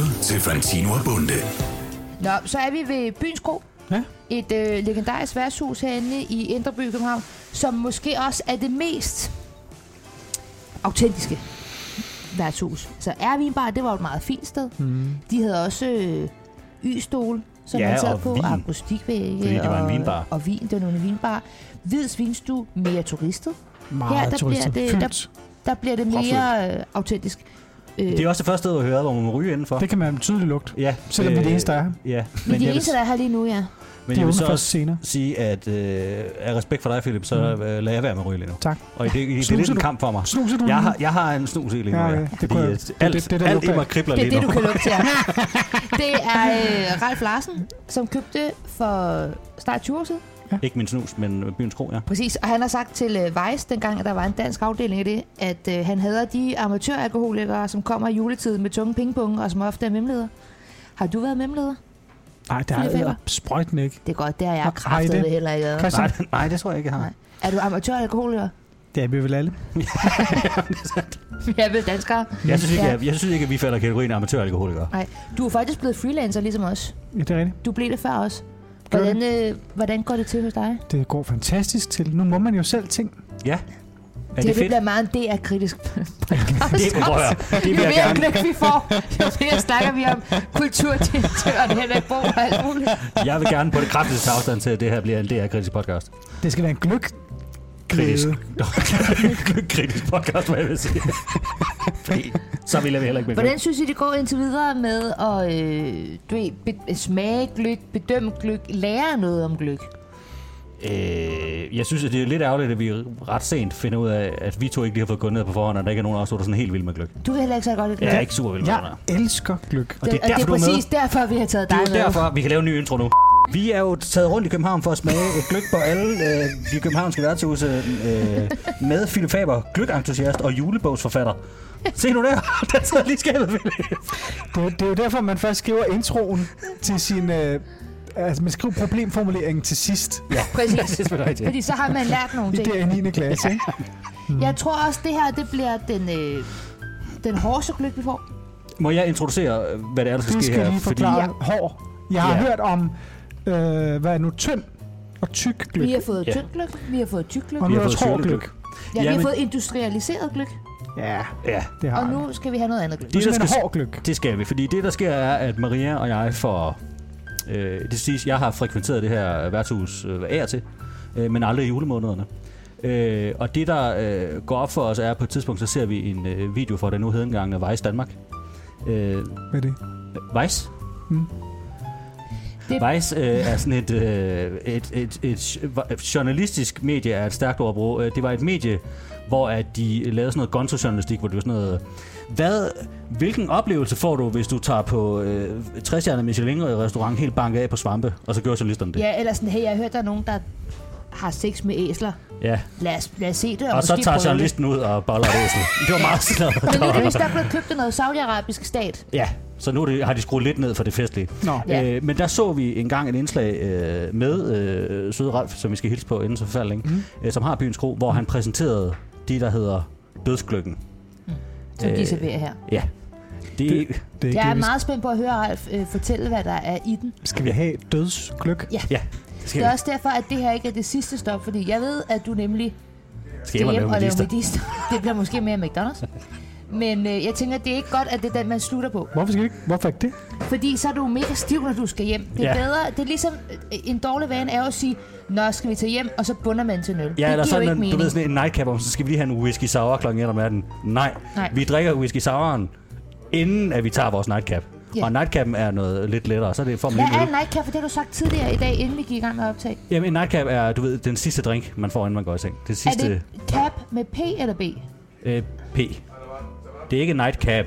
Infantino og Bunde. Nå, så er vi ved Byens Kro. Ja. Et øh, legendarisk værtshus herinde i Indre By i København, som måske også er det mest autentiske værtshus. Så Airvin Bar, det var jo et meget fint sted. Mm. De havde også øh, Y-stol, som Ja, man sad og på, vin. og akustikvægge. Fordi det var en og, vinbar. Og vin, det var nogle vinbar. Hvids vinstue, mere turistet. Meget Her, der turistet. bliver det, der, der bliver det mere øh, autentisk. Øh, Det er også det første sted, du hører, hvor man må ryge indenfor. Det kan man tydeligt lugte. Ja, øh, Selvom vi er det eneste, der er. men Ja, det jeg vil, eneste, der er her lige nu, ja. men Det er jeg vil jo så først også senere. sige, at øh, af respekt for dig, Philip, så øh, lader jeg være med at ryge lige nu. Mm. Tak. Og det, det, det er Snuser lidt en du? kamp for mig. Snuser du Jeg lige nu? har, jeg har en snus i lige nu, Ja, ja, ja, ja. det fordi kunne jeg- at det- alt, det- det der alt i lugter mig kribler Det er lige det, nu. du kan lugte til. Det er øh, Ralf Larsen, som købte for snart 20 år siden. Ikke min snus, men øh, byens kro, ja. Præcis, og han har sagt til øh, Vice, dengang at der var en dansk afdeling af det, at øh, han hader de amatøralkoholikere, som kommer i juletiden med tunge pengepunge, og som ofte er memleder. Har du været memleder? Nej, det Philip er Weber. sprøjten ikke. Det er godt, det har Har jeg I kraftet det det? heller ikke. ad. Christian, Nej, nej, det tror jeg ikke, jeg har. Nej. Er du amatøralkoholiker? det er vi vel alle. Jeg ved danskere. Mm. Jeg synes, ikke, Ja. jeg, jeg synes ikke, at vi falder i kategorien amatøralkoholikere. Nej, du er faktisk blevet freelancer ligesom os. Ja, det er rigtigt. Du blev det før os. Gør Hvordan, øh, hvordan går det til hos dig? Det går fantastisk til. Nu må man jo selv ting. Ja. Er det, det det fedt? bliver meget en DR-kritisk podcast. Det, prøv at høre. det Jo vil jeg mere gerne. knæk vi får, jo mere snakker vi om kulturdirektøren Henrik Bro og alt muligt. Jeg vil gerne på det kraftigste tage afstand til, at det her bliver en DR-kritisk podcast. Det skal være en gløk. Kritisk. Glæde. kritisk podcast, hvad jeg vil sige. Fordi så vil jeg heller ikke med. Hvordan synes I, det går indtil videre med at øh, du ved, be- smage gløk, bedømme gløk, lære noget om gløk? Øh, jeg synes, at det er lidt ærgerligt, at vi ret sent finder ud af, at vi to ikke lige har fået gået ned på forhånd, og der ikke er nogen af os, to, der er sådan helt vild med gløk. Du vil heller ikke så godt lide gløk. Jeg er ikke super vild med gløk. Jeg elsker gløk. Og det er og det derfor, er du er med. præcis derfor, vi har taget dig Det er jo med. derfor, vi kan lave en ny intro nu. Vi er jo taget rundt i København for at smage et gløk på alle øh, de københavnske værtshuse øh, med Philip Faber, gløkentusiast og julebogsforfatter. Se nu der, der sidder lige skabet, Philip. Det, det er jo derfor, man først skriver introen til sin... Øh, altså, man skriver problemformuleringen til sidst. Ja. Præcis. Det er rigtigt. Fordi så har man lært nogle I ting. der i 9. klasse, ikke? Jeg tror også, det her det bliver den, øh, den hårdeste gløk, vi får. Må jeg introducere, øh, hvad det er, der skal, Det ske Mm, skal her? lige forklare. Ja. Hår. Jeg har Ja. hørt om, øh, hvad er nu, tynd og tyk gløk. Vi har fået Ja. tynd gløk, vi har fået tyk gløk, Og Vi nu har er der fået tror syrlig gløk. gløk. ja, vi har Jamen. fået industrialiseret gløk, Ja, Ja, det har og jeg. nu skal vi have noget andet gløk. Det Det, er der simpelthen skal- hård gløk. det skal vi, fordi det, der sker, er, at Maria og jeg får... Øh, det siges, jeg har frekventeret det her værtshus øh, af og til, øh, men aldrig i julemånederne. Øh, og det, der øh, går op for os, er, at på et tidspunkt, så ser vi en øh, video fra den nu engang af Vice Danmark. Øh, Hvad er det? Vice? Mm. Det- Vice Hmm. øh, er sådan et, øh, et, et, et, et journalistisk medie, er et stærkt ord at bruge. Øh, Det var et medie, hvor at de lavede sådan noget gonzo-journalistik, hvor det var sådan noget... Hvad, hvilken oplevelse får du, hvis du tager på øh, 60 Michelin-restaurant helt banket af på svampe, og så gør journalisterne det? Ja, eller sådan, hey, jeg har hørt, der er nogen, der har sex med æsler. ja. Lad os, lad os se det. Og så måske tager prøve det. journalisten ud og boller et æsel. Det var meget sådan noget, Men nu er der det var. vist, der er blevet købt af noget saudiarabisk stat. Ja, så nu er det, har de skruet lidt ned for det festlige. Nå. Ja. Øh, men der så vi engang et indslag øh, med øh, Søde Ralf, som vi skal hilse på inden så forfærd længe, mm. øh, som har Byens Kro, hvor han præsenterede det, der hedder Dødsgløkken. Som Øh, de serverer her. Ja. Det, det. Det er ikke Jeg er det, vi meget spændt på at høre Ralf øh, fortælle, hvad der er i den. skal. Skal vi have dødsgløk? Ja, det skal, Det er jeg, også derfor, at det her ikke er det sidste stop, fordi jeg ved, at du nemlig skal hjem og lave og en lave liste. medister. Det bliver måske mere McDonald's. Men øh, jeg tænker, det er ikke godt, at det er den, man slutter på. Hvorfor skal vi ikke? Hvorfor ikke det? Fordi så er du mega stiv, når du skal hjem. Det er Ja. bedre. Det er ligesom øh, en dårlig vane er jo at sige, Nå, skal vi tage hjem, og så bunder man til nul. Ja, det eller giver jo ikke sådan en, mening. du ved, sådan en nightcap, om så skal vi lige have en whisky sour klokken 1 om natten. Nej, Nej. vi drikker whisky souren, inden at vi tager vores nightcap. Ja. Ja. Og nightcappen er noget lidt lettere, så er det får man Hvad lige er en en øl. nightcap? For det har du sagt tidligere i dag, inden vi gik i gang med at optage. Jamen, en nightcap er, du ved, den sidste drink, man får, inden man går i seng. Det Er sidste... det cap med P eller B? Øh, P. Det er ikke nightcap,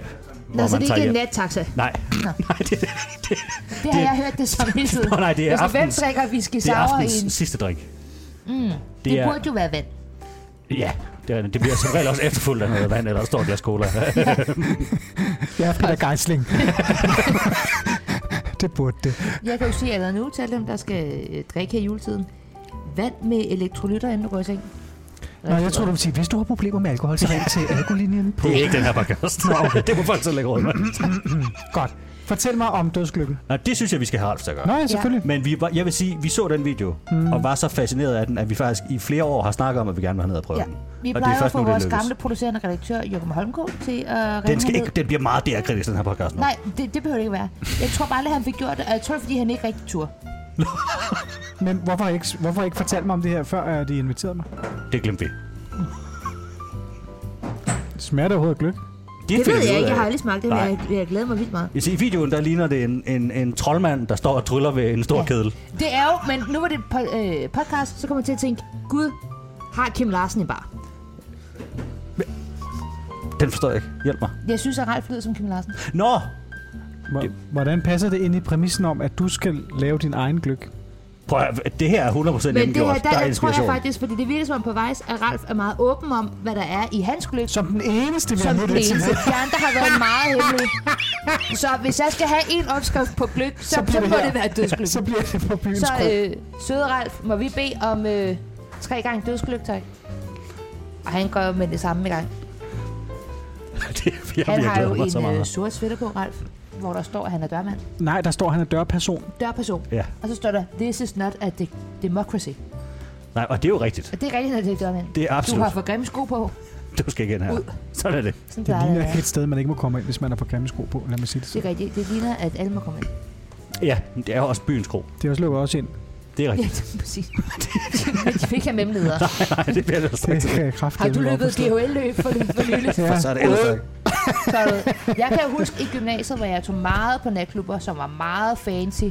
hvor Nå, så Altså, man det er tager ikke en hjem. nattaxa. Nej. Nå. Nej, det, er- det, Det har Det- jeg hørt det som hele tiden. Nå, nej, det er Altså, Hvem aftens- drikker whisky det er sour i aftens en... sidste drink. Det, er- burde jo være vand. Ja, det, er- det bliver som regel også efterfulgt af noget vand, eller står glas cola. Jeg er Peter Geisling. det burde det. Jeg kan jo se allerede nu til alle dem, der skal øh, drikke her i juletiden. Vand med elektrolytter, inden du går i seng. Nå, jeg tror, du vil sige, hvis du har problemer med alkohol, så ring til alkohollinjen på. det er ikke den her podcast. det må folk så lægge råd med. Godt. Fortæl mig om dødslykken. Nå, det synes jeg, vi skal have Ralf til at gøre. Nå ja, selvfølgelig. Men vi var, jeg vil sige, vi så den video, mm. og var så fascineret af den, at vi faktisk i flere år har snakket om, at vi gerne vil have ned og prøve Ja. den. Vi og det er plejer at først få nu, det vores lykkes. gamle producerende redaktør, Joachim Holmgaard, til at ringe Den, skal herned. ikke, den bliver meget DR-kritisk, den her podcast nu. Nej, det, det behøver det ikke være. Jeg tror bare aldrig, han fik gjort det, og jeg tror, det er, fordi han ikke rigtig tur. Men hvorfor har I ikke, hvorfor har I ikke fortalt mig om det her, før at de inviterede mig? Det glemte vi. Smager det overhovedet af gløk? Det, finder vi ud af. aldrig smagt det, Nej. jeg glæder mig vildt meget. Jeg siger, I videoen, der ligner det en, en, en troldmand, der står og tryller ved en stor Ja. ja. kedel. Det er jo, men nu var det po- øh, podcast, så kommer jeg til at tænke, Gud, har Kim Larsen i bar? Den forstår jeg ikke. Hjælp mig. Jeg synes, at Ralf lyder som Kim Larsen. Nå! Hvor- Hvordan passer det ind i præmissen om, at du skal lave din egen gløk? Prøv at, høre, det her er 100% Men det indgjort. her, der, der der er tror jeg inspiration. faktisk, fordi det virker som om på vejs, at Ralf er meget åben om, hvad der er i hans kollektion. Som den eneste, vi Som har den det til. eneste. De andre har været meget hemmelige. Så hvis jeg skal have en opskrift på gløk, så, så, så bliver det må her. det være dødsgløk. Så bliver det på byens Så så, øh, øh, søde Ralf, må vi bede om øh, tre gange dødsgløgtøj? Og han går jo med det samme i gang. det, jeg, Han jeg har jo glæder mig så en øh, meget. sort sweater på, Ralf, hvor der står, at han er dørmand. Nej, der står, han er dørperson. Dørperson. Ja. Og så står der, this is not a de- democracy. Nej, og det er jo rigtigt. Og det er rigtigt, at det er dørmand. Det er Du absolut. har for grimme sko på. Du skal ikke ind her. Ud. Sådan er det. Sådan Det plejer det, ligner at være. et sted, man ikke må komme ind, hvis man har for grimme sko på. Lad mig sige det. det sådan. er rigtigt. Det ligner, at alle må komme ind. Ja, det er jo også byens kro. Det er også lukket også ind. Det er Ja, rigtigt. det er præcis. Men de fik have mellemleder. Nej, det bliver det Det straks. kan jeg kraftigt. Har du løbet DHL-løb for, for nylig? Ja. Så er det ellers ikke. Så, jeg kan huske i gymnasiet, hvor jeg tog meget på natklubber, som var meget fancy.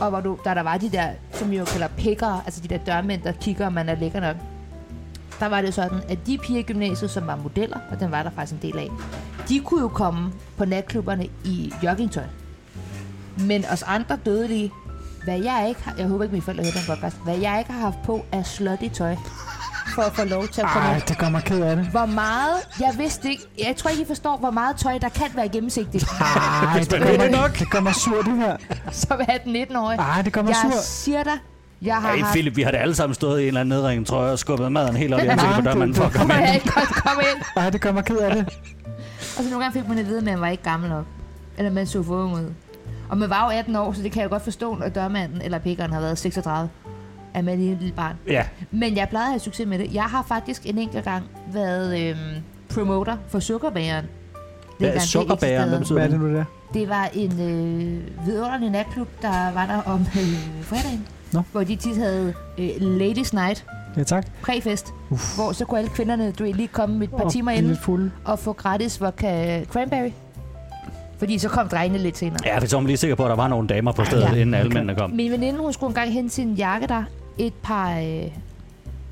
Og hvor du, der, der var de der, som vi jo kalder pikker, altså de der dørmænd, der kigger, om man er lækker nok. Der var det sådan, at de piger i gymnasiet, som var modeller, og den var der faktisk en del af, de kunne jo komme på natklubberne i joggingtøj. Men os andre dødelige, hvad jeg ikke har, jeg håber ikke, mine forældre hører den podcast, hvad jeg ikke har haft på af slutty tøj, for at få lov til at komme Ej, ind. det gør mig ked af det. Hvor meget, jeg vidste ikke, jeg tror ikke, I forstår, hvor meget tøj, der kan være gennemsigtigt, Ej, det gør, mig, det gør mig sur, det her. som 18-19-årig. Ej, det gør mig Jeg sur. siger dig, jeg har Hey, haft... Philip, vi har da alle sammen stået i en eller anden nedring, tror jeg, og skubbet maden helt op i ansigtet på Nej, dørmanden det- for at Kunne komme jeg ind. ikke godt komme ind? Ej, det gør mig ked af det. Og så nogle gange fik man at vide, at man var ikke gammel nok. Eller man så for ung ud. Og man var jo 18 år, så det kan jeg godt forstå, når dørmanden eller pikkeren har været 36. At man lige er et lille barn. Ja, Men jeg plejede at have succes med det. Jeg har faktisk en enkelt gang været øhm, promoter for sukkerbageren. Hvad er Dengang det Sukkerbageren? Hvad eksisterede. betyder Hvad er det nu, Det det er? var en øh, vidunderlig natklub, der var der om øh, fredagen. Nå. Hvor de tit havde øh, Ladies Night, Ja, tak. præfest. Uff. Hvor så kunne alle kvinderne du ved, lige komme et par Og timer blive inden lidt fulde. og få gratis vodka cranberry. Fordi så kom drengene lidt senere. ja for så var man lige sikker på, at der var nogle damer på stedet, Ja. inden alle mændene kom. Min veninde, hun skulle engang hente sin jakke der et par øh, øh,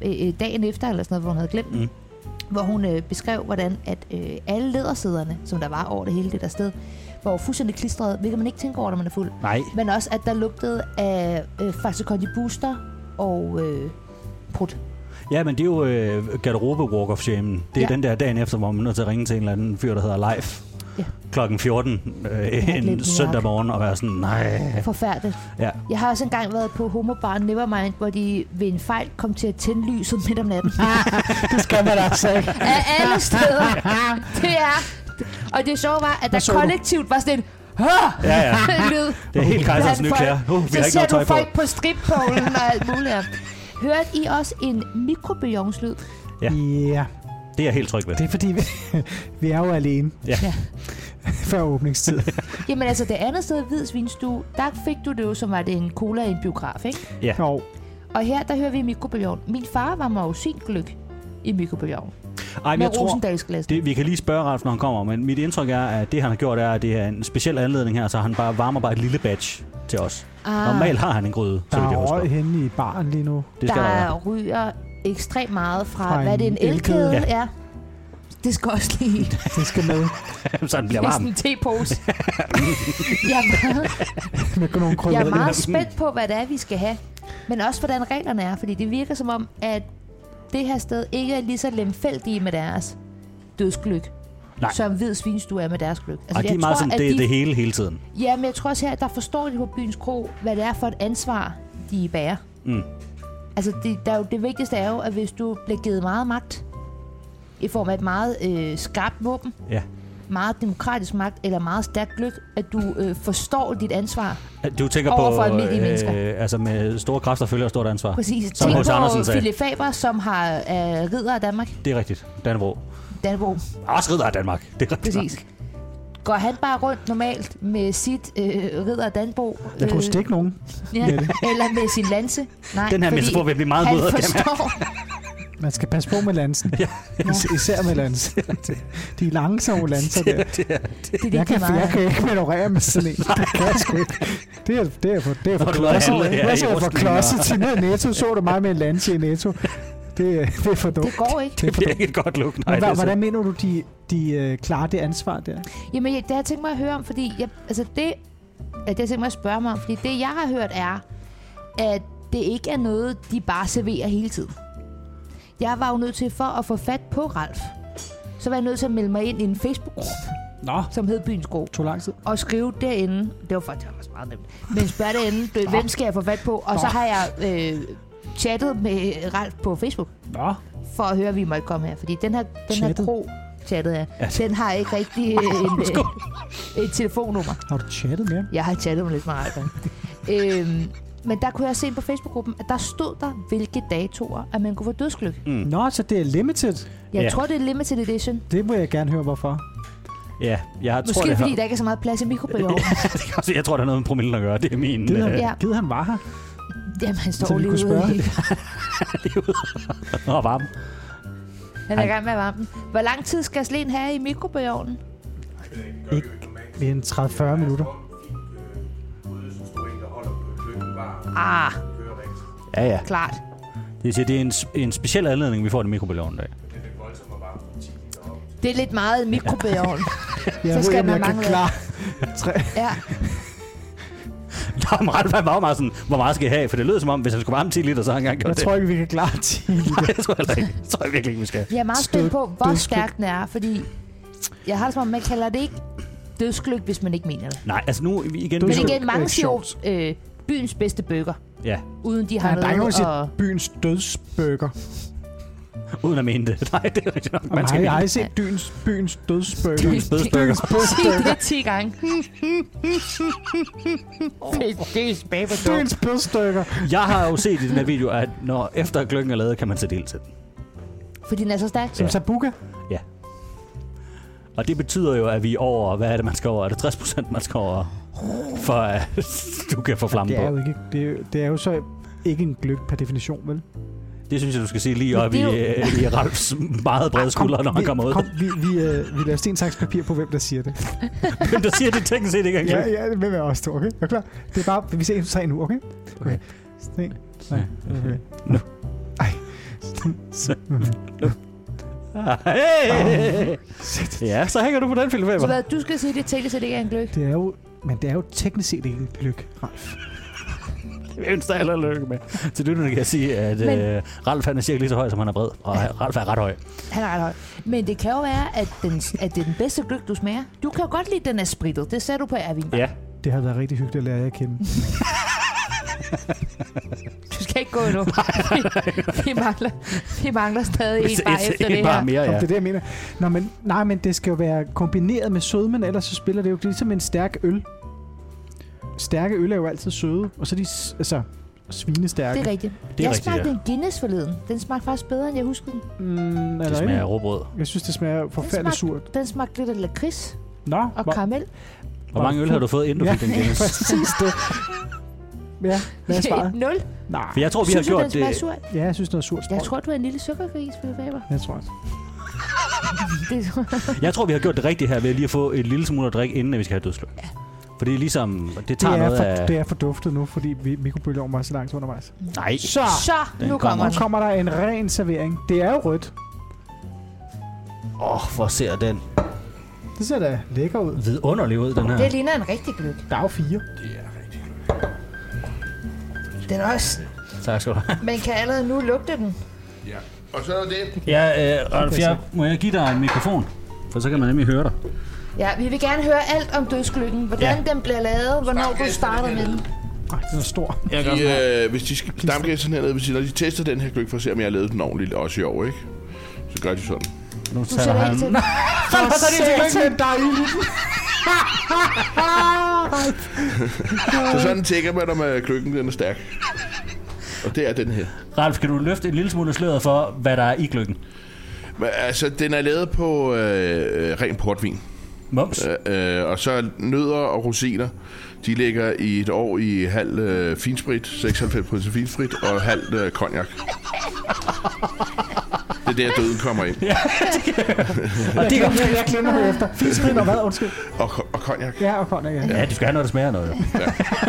øh, dagen efter, eller sådan noget, hvor hun havde glemt den. Mm. Hvor hun øh, beskrev, hvordan at øh, alle lædersæderne, som der var over det hele det der sted, var fuldstændig klistret, hvilket man ikke tænker over, når man er fuld. Nej, Men også, at der lugtede af øh, Faxe Kondi Booster og øh, prut. Ja, men det er jo øh, garderobe walk of shame. Det er Ja. ja. den der dagen efter, hvor man er nødt til at ringe til en eller anden fyr, der hedder Leif. Ja. Ja. Klokken 14 øh, glemt min en søndag jakke. morgen og være sådan, nej. Forfærdeligt. Ja. Jeg har også engang været på homobaren Nevermind, hvor de ved en fejl kom til at tænde lyset midt om natten. Det skal man altså ikke. af alle steder. Det er... Og det sjove var, at Hvad der så du? kollektivt var sådan en... Hør! Ja, ja. lyd. Det er helt kejserens nye Blandt klæder. folk. Uh, vi så har ikke ser noget du tøj på. folk på, på strippolen og alt muligt. andet. Hørte I også en mikrobølgeonslyd? Ja. Ja, Det er jeg helt tryg ved. det er fordi, vi, vi er jo alene Ja. Ja. før åbningstid. Jamen altså, det andet sted, Hvid Svinstue, der fik du det jo, som var det en cola i en biograf, ikke? Ja. Og Og her, der hører vi mikrobølgeovn. Min far var mig jo sin gløk i mikrobølgeovn. Ej, men Med jeg tror, Rosendalsglas. det, vi kan lige spørge Ralf, når han kommer, men mit indtryk er, at det han har gjort er, at det er en speciel anledning her, så han bare varmer bare et lille batch til os. Ah. Normalt har han en gryde, der så vidt jeg er røg husker. henne i baren lige nu. Det skal der Ah, der være. ryger ekstremt meget fra, Fra hvad er det, en en elkedel? elkæde? Ja. Ja. ja. Det skal også lige i. Det skal med så han bliver Det er varm. sådan en tepose. jeg, er meget, med nogle jeg krydderier. er meget spændt på, hvad det er, vi skal have. Men også, hvordan reglerne er. Fordi det virker som om, at det her sted ikke er lige så lemfældige med deres dødsgløk. Nej. Som hvid svinstue er med deres gløk. Ej, det er altså, jeg meget tror, sådan, at det, det hele hele tiden. Ja, men jeg tror også her, at der forstår de på byens kro, hvad det er for et ansvar, de bærer. Mm. Altså, det, der er jo, det vigtigste er jo, at hvis du bliver givet meget magt, i form af et meget øh, skarpt våben, Ja. meget demokratisk magt eller meget stærkt glød, at du øh, forstår dit ansvar. Du tænker Overfor almindelige på, mennesker. øh, altså med store kræfter følger stort ansvar. Præcis. Som Tænk H.C. Andersen på sagde. Philip Faber, som har øh, ridder af Danmark. Det er rigtigt. Dannebrog. Dannebrog. Også ridder af Danmark. Det er rigtigt. nok. Præcis. Går han bare rundt normalt med sit øh, ridder Danbo? Jeg kunne stikke nogen. ja, eller med sin lanse? Nej, Den her fordi metafor vil blive meget han mudret, kan jeg forstår, Man skal passe på med lansen. ja. Især med lansen. De langsomme lanser der. det er Jeg det, kan, kan jeg meget. kan ikke manøvrere med sådan en. Det kan jeg sgu ikke. Det er, det er for, det er for Når du har klodset. handlet her Hvad så i jeg for Rustling klodset og- til ned i Netto? Så du mig med en lance i Netto? Det, er- det er for dumt. Det går ikke. Det bliver ikke et godt look. Men Nej, det hva- er så- hvordan mener du, de, de øh, klarer det ansvar der? Jamen, jeg- det har jeg tænkt mig at høre om, fordi jeg, altså det, at jeg tænkt mig at spørge mig om, fordi det, jeg har hørt, er, at det ikke er noget, de bare serverer hele tiden. Jeg var jo nødt til, for at få fat på Ralf, så var jeg nødt til at melde mig ind i en Facebook-gruppe, Nå. som hed Byens Gro. Tog lang tid. og skrive derinde, det var faktisk også meget nemt, men spørg derinde, du, hvem skal jeg få fat på? Og så har jeg øh, chattet med Ralf på Facebook, Nå. for at høre, at vi måtte komme her. Fordi den her, den her Chattet? kro, chattet jeg, Altså. den har ikke rigtig øh, en, øh, et telefonnummer. Har du chattet med ham? Jeg har chattet med lidt med Ralf. øhm, men der kunne jeg se på Facebook-gruppen, at der stod der, hvilke datoer, at man kunne få dødsgløk. Nå, så det er limited. Jeg Ja. tror, det er limited edition. Det vil Mm. jeg gerne høre, hvorfor. Ja, jeg tror, Måske det fordi har... der ikke er så meget plads i mikrobølgeovnen. Det kan også- jeg tror, der er noget med promillen at gøre. Det er min... Gider, Øh, øh, Ja. ja. gider han var her? Jamen, han Så står vi lige kunne ude. spørge. i- og øh, varm. Han er i gang med at varme den. Hvor lang tid skal sleen have i mikrobølgeovnen? Ikke. Det er en 30-40 minutter. Ah, Ja, ja. klart. Det, siger, det er en, s- en speciel anledning, vi får det mikrobølgeovn i dag. Det er lidt meget i mikrobølgeovnen. Jeg Så skal ikke, om man jeg kan mangle- klare. Tre- Ja, Der var meget, han var jo meget sådan, hvor meget skal jeg have? For det lød som om, hvis han skulle varme 10 liter, så har han engang gjort Jeg tror ikke, vi kan klare 10 liter. det. det tror jeg heller ikke. Det tror jeg virkelig ikke, vi skal. jeg er meget spændt på, hvor Dødsgløgg. stærk den er, fordi jeg har det som om, man kalder det ikke dødsgløk, hvis man ikke mener det. Nej, altså nu vi igen... Du Men er vi- Dødsgløgg igen, mange er siger jo, sjovt. øh, byens bedste bøger, Ja, uden de Ja, har der er ikke nogen, der noget siger at... byens dødsbøger. uden at mene det. Nej, det er rigtigt nok. Man Nej, skal jeg har ikke... ikke set byens, byens dødsbøger. Byens dødsbøger. Sig det 10 gange. det er tilbage på døden. Byens bødstykker. Jeg har jo set i den her video, at når efter gløggen er lavet, kan man sætte ild til den. Fordi den er så stærk. Som Sabuka. Ja. Og det betyder jo, at vi er over... Hvad er det, man skal over? Er det 60 procent, man skal over? For at du kan få flammen Det er jo på. ikke, det er, jo- det er jo så ikke en gløk per definition, vel? Det synes jeg, du skal sige lige Men op det i, er øh, i Ralfs meget brede skuldre, når han vi- kommer ud. Kom, vi, vi, øh, vi laver sten, saks, papir på, hvem der siger det. Hvem der siger, det tænker set ikke er en Ja, gløgg? ja, hvem er os to, okay? Er du klar? Det er bare, vi ser 1, 2, 3 nu, okay? Okay. Sten. Nej, okay. Nu. Ej. Hey! Ja, så hænger du på den film, Så Weber. hvad, du skal sige, det tæller sig, det ikke er en gløk. Det er jo, men det er jo teknisk set ikke en gløk, Ralf. Det ønsker jeg allerede lykke med. Til lytterne kan jeg sige, at Men- øh, Ralf han er cirka lige så høj, som han er bred. Og Ralf er ret høj. Han er ret høj. Men det kan jo være, at, den, at det er den bedste gløk, du smager. Du kan jo godt lide, at den er spritet. Det sagde du på Ervin. Ja. Det har været rigtig hyggeligt at lære jer at kende. Du skal ikke gå endnu. vi, mangler, vi mangler stadig en bare efter det en her. bare mere, Ja. ja. Det er det, jeg mener. Nå, men, nej, men det skal jo være kombineret med sødmen, ellers så spiller det jo det er ligesom en stærk øl. Stærke øl er jo altid søde, og så er de s- altså, svinestærke. Det er rigtigt. er jeg rigtigt, smagte ja. en Guinness forleden. Den smagte faktisk bedre, end jeg huskede den. Mm, er Det det smager af rigtigt? råbrød. Jeg synes, det smager forfærdeligt smager- surt. Den smagte lidt af lakrids Nå, og hvor- karamel. Hvor mange øl har du fået, inden du ja, fik den Guinness? præcis det. Ja, hvad er svaret? Nul. Nej, For jeg tror, vi har Synes du, gjort den smager det. sur? ja, jeg synes, noget surt Jeg sprøjt. tror, du er en lille sukkergris, Philip Faber. Jeg tror også. Det tror jeg. Jeg tror, vi har gjort det rigtige her ved lige at få et lille smule at drikke, inden at vi skal have dødsløb. Ja. For det er ligesom, det Det tager er, noget for, af... det er forduftet nu, fordi vi- mikrobølgeovnen var så langt undervejs. Nej. Så, Så, Ah, Den nu kommer. kommer nu den. kommer der en ren servering. Det er jo rødt. Åh, oh, hvor ser den Det ser da lækker ud. vidunderlig ud, den her. Det ligner en rigtig gløk. Der er jo fire. Den er også... Tak skal du have. Man kan allerede nu lugte den. Ja. Og så er det Ja, øh, Ralf, jeg, må jeg give dig en mikrofon? For så kan man nemlig høre dig. Ja, vi vil gerne høre alt om dødsgløkken. Hvordan Ja. ja. den bliver lavet, hvornår Start du efter starter det med her. den. Ej, den er stor. Jeg gør sådan de, øh, hvis de skal dampgæsterne hernede, hvis de, når de tester den her gløk for at se, om jeg har lavet den ordentligt også i år, ikke? Så gør de sådan. nu Du tager sætter han. helt til. Fald for Sæt til. der er ild i den. Så sådan tækker man, om øh, kløkken den er stærk. Og det er den her. Ralf, kan du løfte en lille smule af sløret for, hvad der er i gløggen? Men, altså, den er lavet på øh, øh, ren portvin. Mums? Øh, øh, og så nødder og rosiner. De ligger i et år i halv øh, finsprit, 96% finsprit og halv øh, cognac. Det er der, døden kommer ind. Og det er godt. Jeg glemmer det efter. Filsprit og hvad? Undskyld. Og, ko- og cognac. Ja, og kognak, ja. Ja, du skal have noget, der smager noget. jo.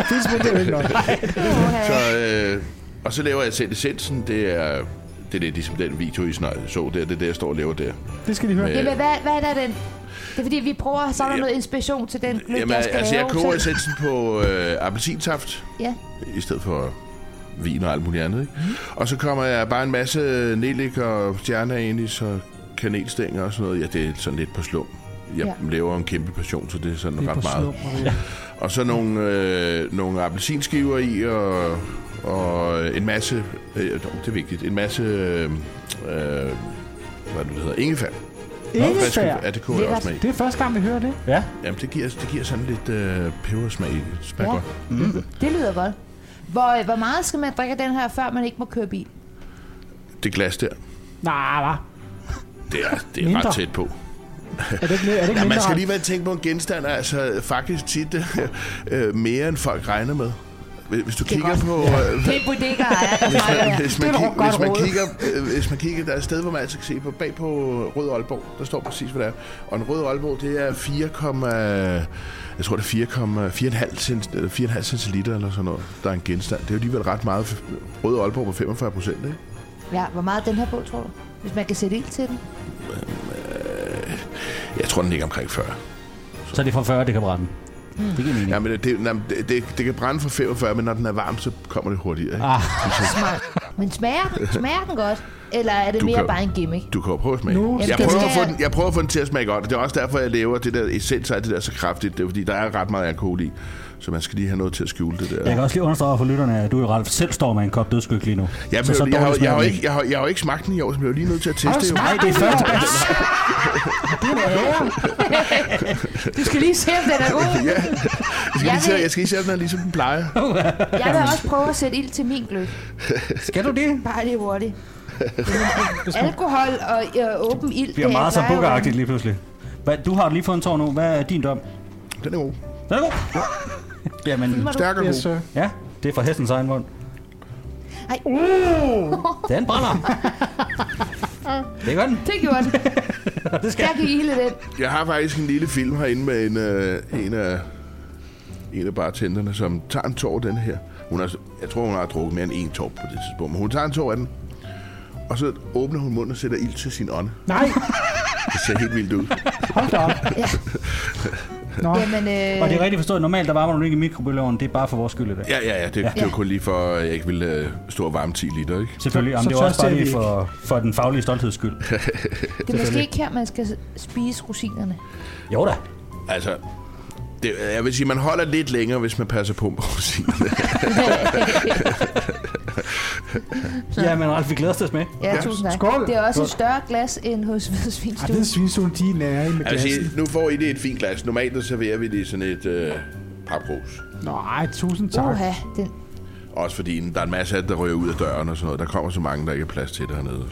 Filsprit, det er jo ikke noget. Åh, ja. Så, øh, og så laver jeg selv essensen. Det er, det er lidt ligesom den video, I snart så der. Det er det, jeg står og laver der. Det skal de høre. Men- Jamen, hvad, hvad er der den? Det er fordi, vi prøver at samle Ja. noget inspiration til den gløb, Jamen, jeg skal altså, jeg lave, koger så- essensen på øh, appelsinsaft. Ja. i stedet for vin og alt muligt andet. Ikke? Mhm. Mm. Og så kommer jeg bare en masse nellik og stjerner ind i, så kanelstænger og sådan noget. Ja, det er sådan lidt på slum. Jeg Ja. ja. laver en kæmpe passion, så det er sådan Det er på ret meget. slum, Maria. Og så nogle, øh, nogle appelsinskiver i, og, og en masse, øh, dog, det er vigtigt, en masse, øh, øh, hvad er det, det hedder, ingefær. Ingefær. Ja, det kunne jeg Lækkert. også smage. Det er første gang, vi hører det. Ja, Jamen, det giver, det giver sådan lidt øh, pebersmag. i det. Det smager Ja. ja. godt. Det lyder godt. Hvor, øh, hvor meget skal man drikke af den her, før man ikke må køre bil? Det glas der, Nej, hva? det er, det er Mindre. ret tæt på. Er det ikke, er det ikke Ja, man mindre? skal lige være tænke på en genstand, er altså faktisk tit øh, mere end folk regner med. Hvis- Hvis du kigger godt. på... Øh, Det er bodega, ja. hvis man, hvis man, Det er kig, dog godt hvis man råd. kigger, øh, hvis man kigger, der er et sted, hvor man altid kan se på, bag på Rød Aalborg, der står præcis, hvad det er. Og en Rød Aalborg, det er 4, jeg tror, det er øh, 4,5 cent- eller 4,5 centiliter eller sådan noget, der er en genstand. Det er jo alligevel ret meget. Rød Aalborg på 45 procent, ikke? ja. Hvor meget er den her på, tror du? Hvis man kan sætte ild til den. Jeg tror, den ligger omkring 40. så er det fra 40, det kan brænde. Det giver mening. Ja, men det, nej, men det, det, det kan brænde for 45, men når den er varm, så kommer det hurtigere. Ikke? Ah, Smart. Men smager den, smager den godt? Eller er det Du mere kan- bare en gimmick? Du kan jo prøve at smage. Nu Nu, jeg, skal prøver vi- at få den, jeg prøver at få den til at smage godt. Det er også derfor, jeg laver det der essens af det der så kraftigt. Det er fordi, der er ret meget alkohol i. Så man skal lige have noget til at skjule det der. jeg Jeg, kan også lige understrege over for lytterne, at du jo, Ralf, selv står med en kop dødskyk lige nu. jeg, så, så blev, jeg, har, dårligt jeg, smager har, jo den ikke, jeg, har, jeg har jo ikke smagt den i år, så jeg bliver lige nødt til at teste det. jo. Nej, det er første gang. Du skal lige se, om den er god. Ja. Jeg skal, Jeg lige se, vil- jeg skal lige se, om den er ligesom den plejer. Jeg vil også prøve at sætte ild til min gløb. Skal du det? Bare lige hurtigt. Alkohol og øh, åben ild. bliver det meget plejer jo- sambuka lige pludselig. Hvad, du har lige fået en tår nu. Hvad er din dom? Den er god. Den er god. Jamen, Må du- Stærk og Yes, god. sir. ja, det er fra hestens egen mund. Ej. Den brænder. det gør den. Det gjorde den. Det skal Der gik ilde den. Jeg har faktisk en lille film herinde med en, øh, en af en af bartenderne, som tager en tår af den her. Hun har, jeg tror, hun har drukket mere end en tår på det tidspunkt, men hun tager en tår af den. Og så åbner hun munden og sætter ild til sin ånd. Nej, Det ser helt vildt ud. hold da op. Nå, Jamen, øh, Og det er rigtigt forstået, normalt der varmer du ikke i mikrobølgeovnen, det er bare for vores skyld i dag. Ja, ja, ja. Det, ja. det var kun lige for, at jeg ikke ville øh, stå og varme 10 liter, ikke? Selvfølgelig, Så- Jamen, det så er også tør bare ser vi lige for, for den faglige stoltheds skyld. det er måske ikke her, man skal spise rosinerne. Jo da. Altså, det, jeg vil sige, man holder lidt længere, hvis man passer på med rosinerne. Ja, men Ralf, vi glæder os til at smage. Ja, Ja, tusind tak. skål. Det er også et Skål. større glas end hos Hvide Ej, Svinstue. det synes hun, de er nære i med Jeg vil glassen. sige, nu får I det i et fint glas. Normalt så serverer vi det i sådan et øh, papkrus. Nej, tusind tak. Uha, den, Også fordi der er en masse af det, der rører ud af døren og sådan noget. Der kommer så mange, der ikke er plads til det hernede.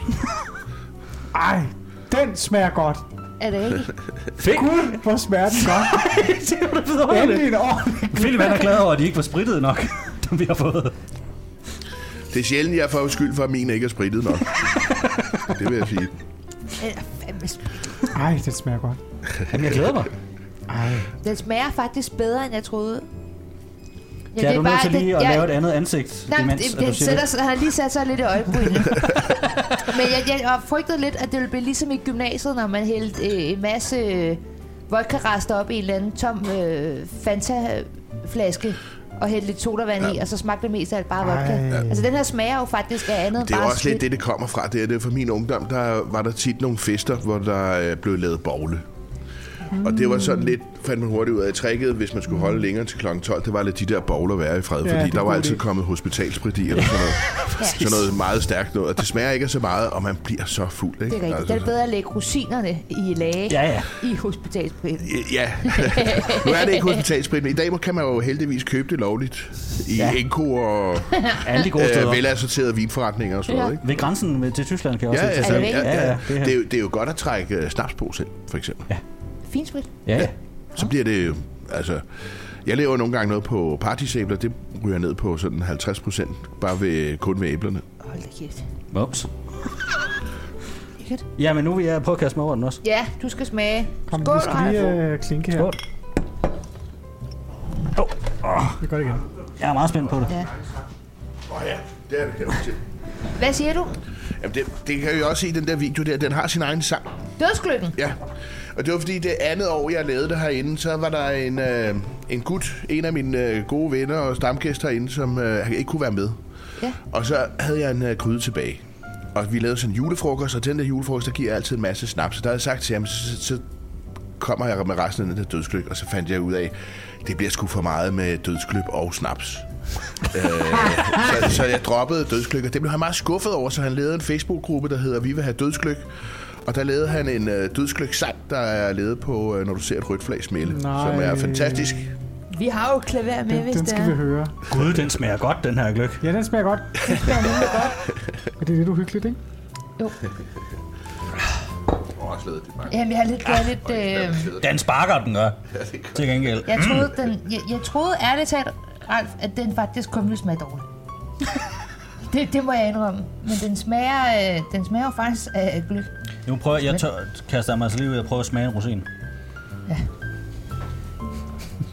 Ej, den smager godt. er det ikke? Gud, hvor smager den godt. Endelig en ordentlig. Philip han er glad over, at de ikke var sprittede nok, som vi har fået. Det er sjældent, jeg får skyld for, at min ikke er spritet nok. det vil jeg sige. Den er fandme sp- Ej, den smager godt. Jamen, jeg glæder mig. Ej, Den smager faktisk bedre, end jeg troede. Ja, Ja, er du nødt til lige at jeg- lave et andet ansigt, Nej, imens det, at du det, siger sætter, det? sig- han har lige sat sig lidt i øjenbrynet. Men jeg, jeg har frygtet lidt, at det ville blive ligesom i gymnasiet, når man hældte øh, en masse øh, vodka-rester op i en eller anden tom øh, Fanta-flaske og hældte lidt sodavand ja. i, og så smagte det mest af alt bare vodka. Ej. Altså, den her smager jo faktisk af andet end Det er bare jo også lidt det, det kommer fra. Det er det er fra min ungdom, der var der tit nogle fester, hvor der øh, blev lavet bogle. Mm. Og det var sådan lidt, fandt man hurtigt ud af, tricket, hvis man skulle holde længere til kl. 12, det var lidt de der bowler være i fred, Ja, ja, det fordi er der var god altid idé. kommet hospitalsbredi eller sådan noget, sådan noget meget stærkt noget. Og det smager ikke af så meget, og man bliver så fuld. Ikke? Det er rigtigt. Det er bedre at lægge rusinerne i lage Ja, ja. i hospitalsprisen. Ja, nu er det ikke hospitalsprit, men i dag kan man jo heldigvis købe det lovligt i Ja. ja. Enko og Alle de gode steder. øh, velassorterede vinforretninger og sådan noget. Ja. Ikke? Ved grænsen med- til Tyskland kan jeg også Ja, se til ja, Er ja, det Sverige. ja, rigtigt? ja, ja, det ja. her. Det, er jo, det er jo godt at trække øh, snaps på selv, for eksempel. Ja. Fint sprit. ja, ja. Så bliver det jo- altså... Jeg laver nogle gange noget på partysæbler, det ryger ned på sådan 50 procent, bare ved, øh, kun ved æblerne. Hold da kæft. Mops. Lækkert. Ja, men nu vil jeg prøve at kaste mig over den også. Ja, du skal smage. Kom, Skål, vi skal Ralf. lige øh, klinke her. Skål. Åh, åh, Det gør det igen. jeg er meget spændt på det. Ja. Åh oh ja, det er det her til. øh, Hvad siger du? Jamen det, det kan jeg jo også se i den der video der, den har sin egen sang. Dødslykken. Ja, og det var fordi det andet år, jeg lavede det herinde, så var der en, øh, en gut, en af mine øh, gode venner og stamgæster herinde, som øh, ikke kunne være med. Ja. Og så havde jeg en øh, gryde tilbage. Og vi lavede sådan en julefrokost, og til den der julefrokost, der giver jeg altid en masse snaps. Så der havde jeg sagt til ham, så, så kommer jeg med resten af den der dødsgløb, og så fandt jeg ud af, det bliver sgu for meget med dødsgløb og snaps. øh, så, så jeg droppede dødsgløb, og det blev han meget skuffet over, så han lavede en Facebook-gruppe, der hedder Vi vil have dødsgløb. Og der lavede han en øh, dødsgløb-sang, der er lavet på, øh, når du ser et rødt flag smæle, Nej. som er fantastisk. Vi har jo et klaver med, Den, hvis den det skal vi er. høre. Gud, den smager godt, den her gløk. Ja, den smager godt. Men det er lidt uhyggeligt, ikke? Jo. Åh, oh, det bare. Jamen, jeg har lidt gået lidt... Øh, Den sparker, den gør. Til gengæld. jeg troede, den, jeg, jeg troede ærligt talt, Ralf, at den faktisk kun ville smage dårligt. det, det må jeg indrømme. Men den smager, øh, den smager jo faktisk af øh, gløk. Nu prøver jeg, tør, kaster mig så lige ud og prøver at smage en rosin. Ja.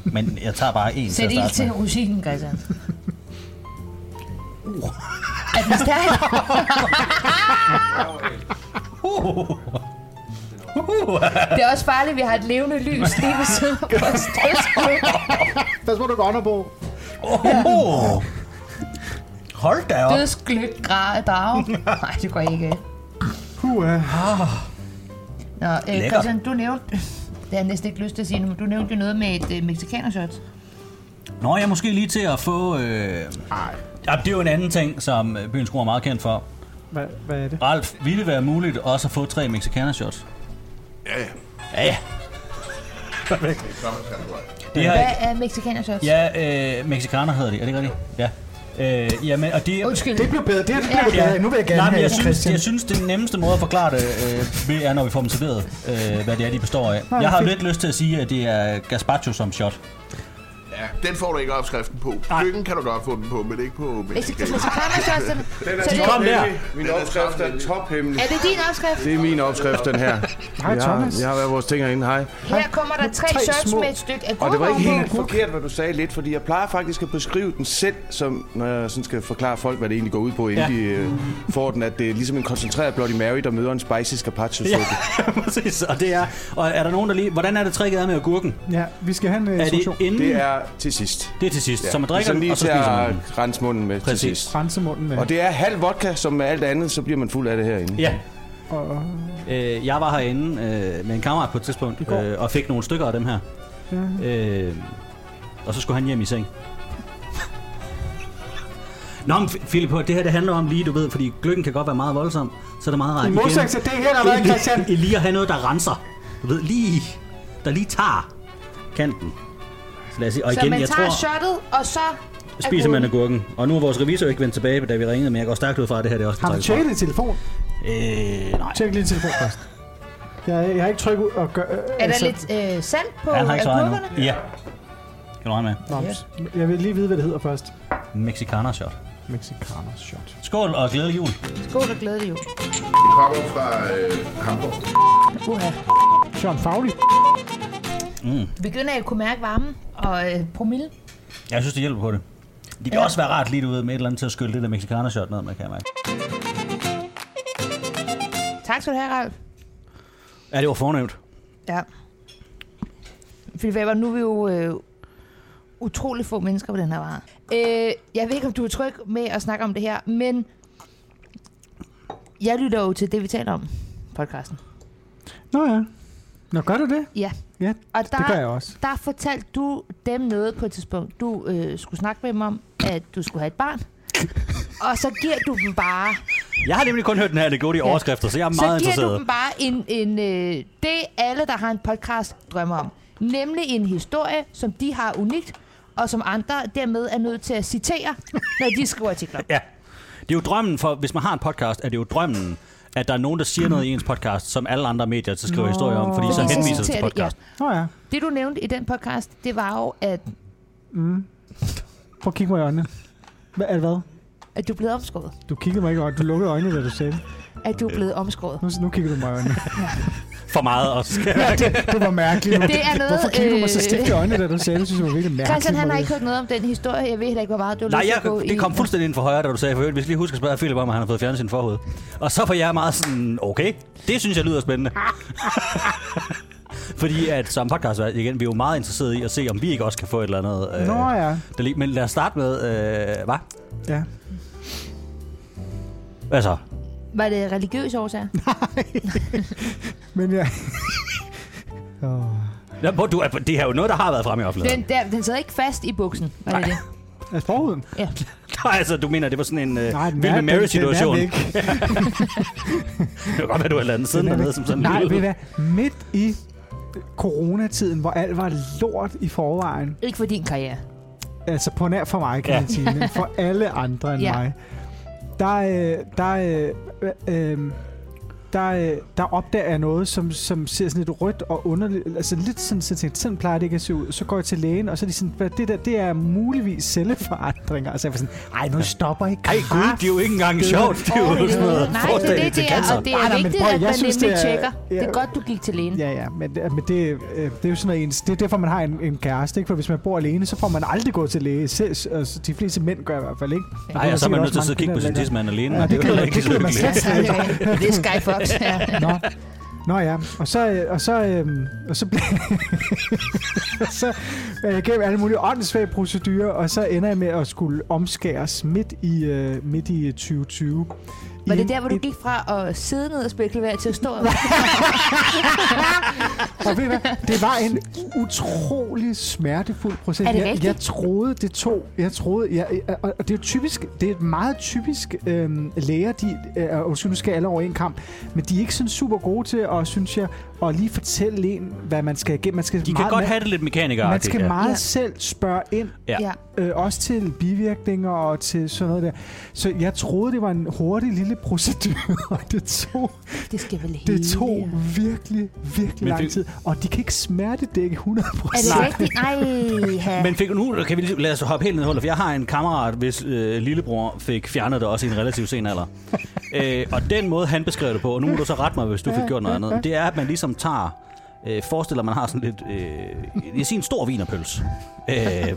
Men jeg tager bare en til Sæt at ild starte til med. rosinen, Christian. Uh. Uh. Er den stærk? Uh. Det er også farligt, at vi har et levende lys lige ved siden af vores dødsgløb. Pas må du gå under på. Oh, oh. Hold da op. Dødsgløb, gra- drage. Nej, det går ikke. af. Puh, ja. Nå, øh, Lækker. Christian, du nævnte... Det har jeg næsten ikke lyst til at sige nu, men du nævnte jo noget med et øh, mexikanershot. Nå, jeg er måske lige til at få... Øh... Ja, det er jo en anden ting, som øh, byens Kro er meget kendt for. Hvad, hvad er det? Ralf, ville det være muligt også at få tre mexikaner shots? Ja, ja. Ja, ja. Det kommer til at gå. Det har, Hvad er mexikanershot? ja, øh, mexikaner hedder det, er det ikke rigtigt? Ja. Øh, jamen, og det, Undskyld. Det blev bedre. Det her det blev bedre. Nu vil jeg gerne Nej, men have jeg synes, Christian. jeg synes, den nemmeste måde at forklare det øh, ved er, når vi får dem serveret, øh, hvad det er, de består af. Jeg har fedt. lidt lyst til at sige, at det er gazpacho som shot. Ja, den får du ikke opskriften på. Nej. Lykken kan du godt få den på, men ikke på Mexican. Mexikanershot, så, så det, Kom der! Min opskrift er tophemmelig. er det din opskrift? Det er min opskrift, den her. Hej, jeg, Thomas. har, jeg har været vores ting herinde. Hej. Her kommer der tre, Tre shots små. med et stykke af Og det var ikke gurkeovenpå. helt forkert, hvad du sagde lidt, fordi jeg plejer faktisk at beskrive den selv, som, når jeg sådan skal forklare folk, hvad det egentlig går ud på, inden Ja. ja. de øh, får den, at det er ligesom en koncentreret Bloody Mary, der møder en spicy scapaccio Ja, suppe. præcis. Og det er, og er der nogen, der lige... Hvordan er det tricket er med agurken? Ja, vi skal have en uh, Er det instruktion. inden... Det er til sidst. det er til sidst. Så man drikker Ligesom den, lige og så til spiser man at den. rense munden med Præcis. til sidst. Rense munden af. Og det er halv vodka, som med alt andet, så bliver man fuld af det herinde. Ja. Og, og, Øh, jeg var herinde øh, med en kammerat på et tidspunkt, går. øh, og fik nogle stykker af dem her. Øh, og så skulle han hjem i seng. Nå, men F- Philip, hør, det her det handler om lige, du ved, fordi gløggen kan godt være meget voldsom, så er det meget rart I igen. modsætning til det her, der har været, Christian. I lige at have noget, der renser. Du ved, lige, der lige tager kanten. Så lad os sige, og så igen, man jeg tager tror, shottet, og så... spiser man agurken. Og nu er vores revisor ikke vendt tilbage, da vi ringede, men jeg går stærkt ud fra, at det her det er også har du en tjekket din telefon? Øh, nej. Tjek lige din telefon først. Jeg, jeg har ikke trykket ud og gør... Øh, Er der lidt øh, salt på Altså- Han har ikke svaret agurkerne? endnu. Ja. Kan du regne med? Noms. Jeg vil lige vide, hvad det hedder først. Mexikaner shot. Mexikaner shot. Skål og glædelig jul. Skål og glædelig jul. Det kommer fra øh, Hamburg. Uha. Sean Fagli. Vi begynder at kunne mærke varmen og øh, promille. Jeg synes, det hjælper på det. Det kan Ja. ja. også være rart lige ud med et eller andet til at skylle det der mexikaner shot ned med, kan jeg mærke. Tak skal du have, Ralf. Ja, det var fornemt. Ja. Fordi Weber, nu er vi jo øh, utrolig få mennesker på den her vare. Øh, jeg ved ikke, om du er tryg med at snakke om det her, men jeg lytter jo til det, vi taler om i podcasten. Nå ja. Nå, gør du det? Ja. Ja, og der, Det gør jeg også. der fortalte du dem noget på et tidspunkt. Du øh, skulle snakke med dem om, at du skulle have et barn. og så giver du dem bare, Jeg har nemlig kun hørt den her anekdote i overskrifter, så jeg er meget så giver du interesseret. dem bare en, en øh, det, alle, der har en podcast, drømmer om. Nemlig en historie, som de har unikt, og som andre dermed er nødt til at citere, når de skriver artikler. Ja. Det er jo drømmen for, hvis man har en podcast, er det jo drømmen, at der er nogen, der siger noget i ens podcast, som alle andre medier så skriver Nå. historier om, fordi Fordi så så henviser det citerer til det, ja. podcast. Nå ja. Det, du nævnte i den podcast, det var jo, at, Prøv at kigge mig i øjnene. Hvad, er det hvad? at du blev omskåret. Du kiggede mig ikke i øjnene. Du lukkede øjnene, da du sagde det. At Øh. du blev omskåret. Nu, nu kigger du mig i øjnene. For meget også. Ja, det, det var mærkeligt. Det er noget, Hvorfor kiggede du mig så øh, stift i øjnene, da du sagde det? Det synes jeg var virkelig mærkeligt. Christian, han har Maria. ikke hørt noget om den historie. Jeg ved heller ikke, hvor meget du har Nej, lyst til at gå jeg, det kom i. fuldstændig ind for højre, da du sagde, for øvrigt, vi skal lige huske at spørge Philip om, at han har fået fjernet sin forhoved. Og så var jeg meget sådan, okay, det synes jeg lyder spændende. Fordi at som podcast, igen, vi er jo meget interesserede i at se, om vi ikke også kan få et eller andet. Øh, Nå ja. der lige, men lad os starte med, øh, hvad? ja. Hvad så? Var det religiøse årsager? Men ja. oh. Nå, hvor du, det her er jo noget, der har været fremme i offentligheden. Den, der, den sad ikke fast i buksen, var det Nej. det? Altså forhuden? Ja. Nej, altså, du mener, det var sådan en øh, Nej, den Vild med er- den- Mary-situation. Den, er væk. Det kan godt være, du har lavet den siden Den er dernede, væk. som sådan Nej, en ved du lille- hvad? Midt i coronatiden, hvor alt var lort i forvejen, Ikke for din karriere. altså på nær for mig, kan Ja. man sige, men for alle andre end Ja. mig, der, øh, der, øh, øh, øh, der, øh, der opdager jeg noget, som, som ser sådan lidt rødt og underligt, altså lidt sådan, så jeg tænkte, sådan plejer det ikke at se ud. Så går jeg til lægen, og så er de sådan, "Hvad, det der, det er muligvis celleforandringer. Altså jeg var sådan, ej, nu stopper I Ej, gud, det er jo ikke engang sjovt. Det er jo sådan noget Nej, det er forstadie det, til det er, cancer. og det Nej, er nej, men vigtigt, prøv, at jeg man synes, nemlig det er- tjekker. ja. Det er godt, du gik til lægen. Ja, ja, men, men det, øh, det er jo sådan noget ens, det er derfor, man har en, en kæreste, ikke? For hvis man bor alene, så får man aldrig gået til læge. Selv, altså, de fleste mænd gør i hvert fald, ikke? Der Nej, kommer og så er man sikkert nødt til at også sidde og kigge på mange kvinder, sin der tidsmand alene. Ja, og det er kan jo man- ikke det så kan man lykkeligt. slet Ja, ja. Det er Skyfox. Ja. lægger- Nå. Nå ja, og så, øh, og så, øh, og så bliver og så øh, jeg gennem alle mulige åndssvage procedurer, og så ender jeg med at skulle omskæres midt i, øh, midt i 2020. Var I det en- der, hvor du et- gik fra at sidde ned og spille klaver til at stå? Og ved I hvad? Det var en utrolig smertefuld proces. Er det jeg, rigtigt? jeg troede, det tog. Jeg troede, jeg, jeg- og og det er jo typisk, det er et meget typisk øhm, læger, de, øh, og nu skal alle over en kamp, men de er ikke sådan super gode til at, synes jeg, at lige fortælle en, hvad man skal igennem. Man skal De kan meget, godt man, have det lidt man mekanikeragtigt. skal ja. meget Ja. selv spørge ind, Ja. Ja. øh, også til bivirkninger og til sådan noget der. Så jeg troede, det var en hurtig lille procedur, og det tog Det skal vel hele. det tog virkelig, virkelig Men lang det- tid. Og de kan ikke smertedække 100 Er det Nej. rigtigt? Nej, ha. Men fik, nu kan vi lige, lad os hoppe helt ned i hullet, for jeg har en kammerat, hvis øh, lillebror fik fjernet det også i en relativt sen alder. øh, og den måde, han beskrev det på, og nu må du så rette mig, hvis du fik gjort noget andet, det er, at man ligesom tager, øh, forestiller man har sådan lidt, øh, jeg siger en stor vinerpøls, øh,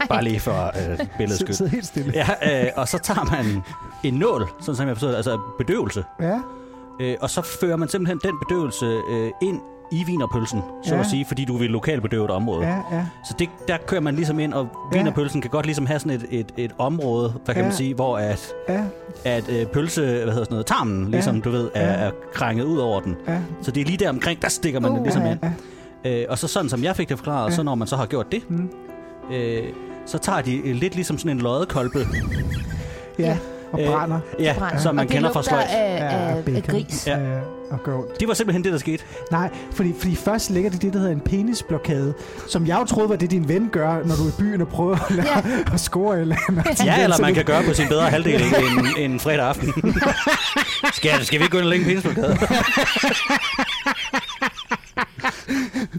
bare lige for øh, billedets Så, skyld. så helt stille. Ja, øh, og så tager man en nål, sådan som jeg forstår det, altså bedøvelse, Ja. øh, og så fører man simpelthen den bedøvelse øh, ind i vinerpølsen, så ja. Ja. at sige, fordi du vil lokalbedøve et område. Ja, ja. Så det, der kører man ligesom ind, og Ja. vinerpølsen kan godt ligesom have sådan et, et, et område, hvad kan Ja. man sige, hvor at, Ja, at øh, pølse, hvad hedder sådan noget, tarmen, ligesom du ved, er, Ja. er krænget ud over den. ja. Så det er lige der omkring, der stikker man Uh. uh, ligesom ja, ind. ja. Øh, og så sådan som jeg fik det forklaret, Ja. så når man så har gjort det, Mm. øh, så tager de øh, lidt ligesom sådan en loddekolbe. ja. Og Øh, brænder. Ja, Brænder. som man Og det kender fra lugter sløjt. af- af- bacon. af gris. Ja. Ja. og gør ondt. Det var simpelthen det, der skete. Nej, fordi, fordi først ligger det det, der hedder en penisblokade, som jeg jo troede var det, din ven gør, når du er i byen og prøver at, Ja. at score eller andet. Ja, eller man det- kan gøre på sin bedre halvdel ikke, en, en fredag aften. skal, skal vi ikke gå ind og længe penisblokade?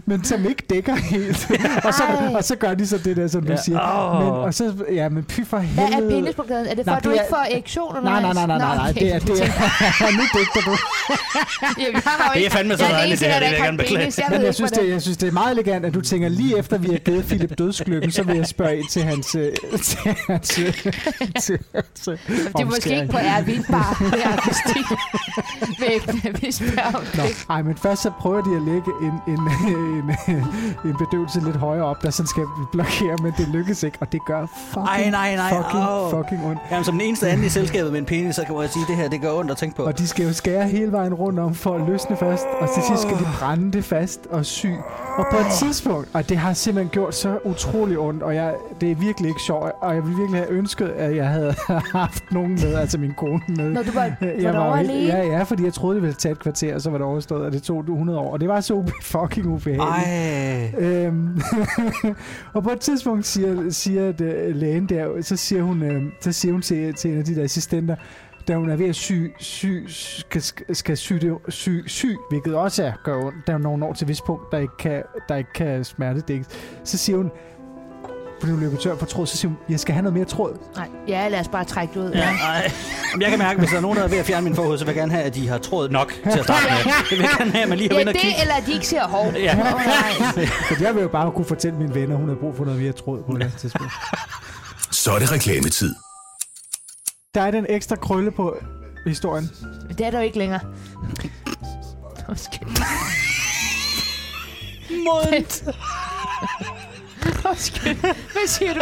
Men som ikke dækker helt. og, så, og så gør de så det der, som du Ja. siger. Åh. Men, og så, ja, men py for Hvad er helvede. penisblokaden? Er det for, Nej, at du det er- ikke får erektion Nej, undervejs? nej, nej, nej, nej, Nå, nej. okay. Det er, det er, nu dækker du. Jamen, jeg har jo Det er ikke- fandme så jeg den dejligt, eneste, det her. der Det vil ikke jeg har gerne beklage. penis. Jeg ved Men jeg ikke, synes, hvordan- det, jeg synes, det er meget elegant, at du tænker, lige efter vi har givet Philip dødsklykken, så vil jeg spørge ind til hans... øh, Til hans øh, til, øh, til, til Det er måske ikke på Airbnb bare, det er akustik. Vægtene, vi spørger om Nå, det. ej, men først så prøver de at lægge en, en, øh, en, en bedøvelse lidt højere op, der sådan skal blokere, men det lykkes ikke, og det gør fucking, Ej, nej, nej, fucking, au. fucking ondt. Jamen, som den eneste anden i selskabet med en penis, så kan jeg sige, at det her det gør ondt at tænke på. Og de skal jo skære hele vejen rundt om for at løsne fast, og til sidst skal de brænde det fast og sy. Og på et tidspunkt, og det har simpelthen gjort så utrolig ondt, og jeg, det er virkelig ikke sjovt, og jeg ville virkelig have ønsket, at jeg havde haft nogen med, altså min kone med. Når du var, var jo derovre helt- alene? ja, ja, fordi jeg troede, det ville tage et kvarter, og så var det overstået, og det tog 100 år. Og det var så ube- fucking ubehageligt. Ej. Øhm, og på et tidspunkt siger, siger at, øh, lægen der, så siger hun, øh, så siger hun til, til en af de der assistenter, da hun er ved at sy, sy, skal, skal sy, det, sy, sy, hvilket også er gør ondt, da hun når- når til et vist punkt, der ikke kan, der ikke kan smertedækkes, så siger hun, fordi hun løber tør for tråd, så siger hun, jeg skal have noget mere tråd. Nej, ja, lad os bare trække det ud. Ja, nej. Jamen, jeg kan mærke, at hvis der er nogen, der er ved at fjerne min forhud, så vil jeg gerne have, at de har tråd nok til at starte med. Det vil jeg gerne have, at man lige har Ja, været inde og det, kigge. eller at de ikke ser hår. Ja. Åh, nej. Så jeg vil jo bare kunne fortælle mine venner, hun har brug for noget mere tråd på det her tidspunkt. Så er det reklametid. Der er den ekstra krølle på historien. Men det er der jo ikke længere. Undskyld. Mundt. Undskyld. Hvad siger du?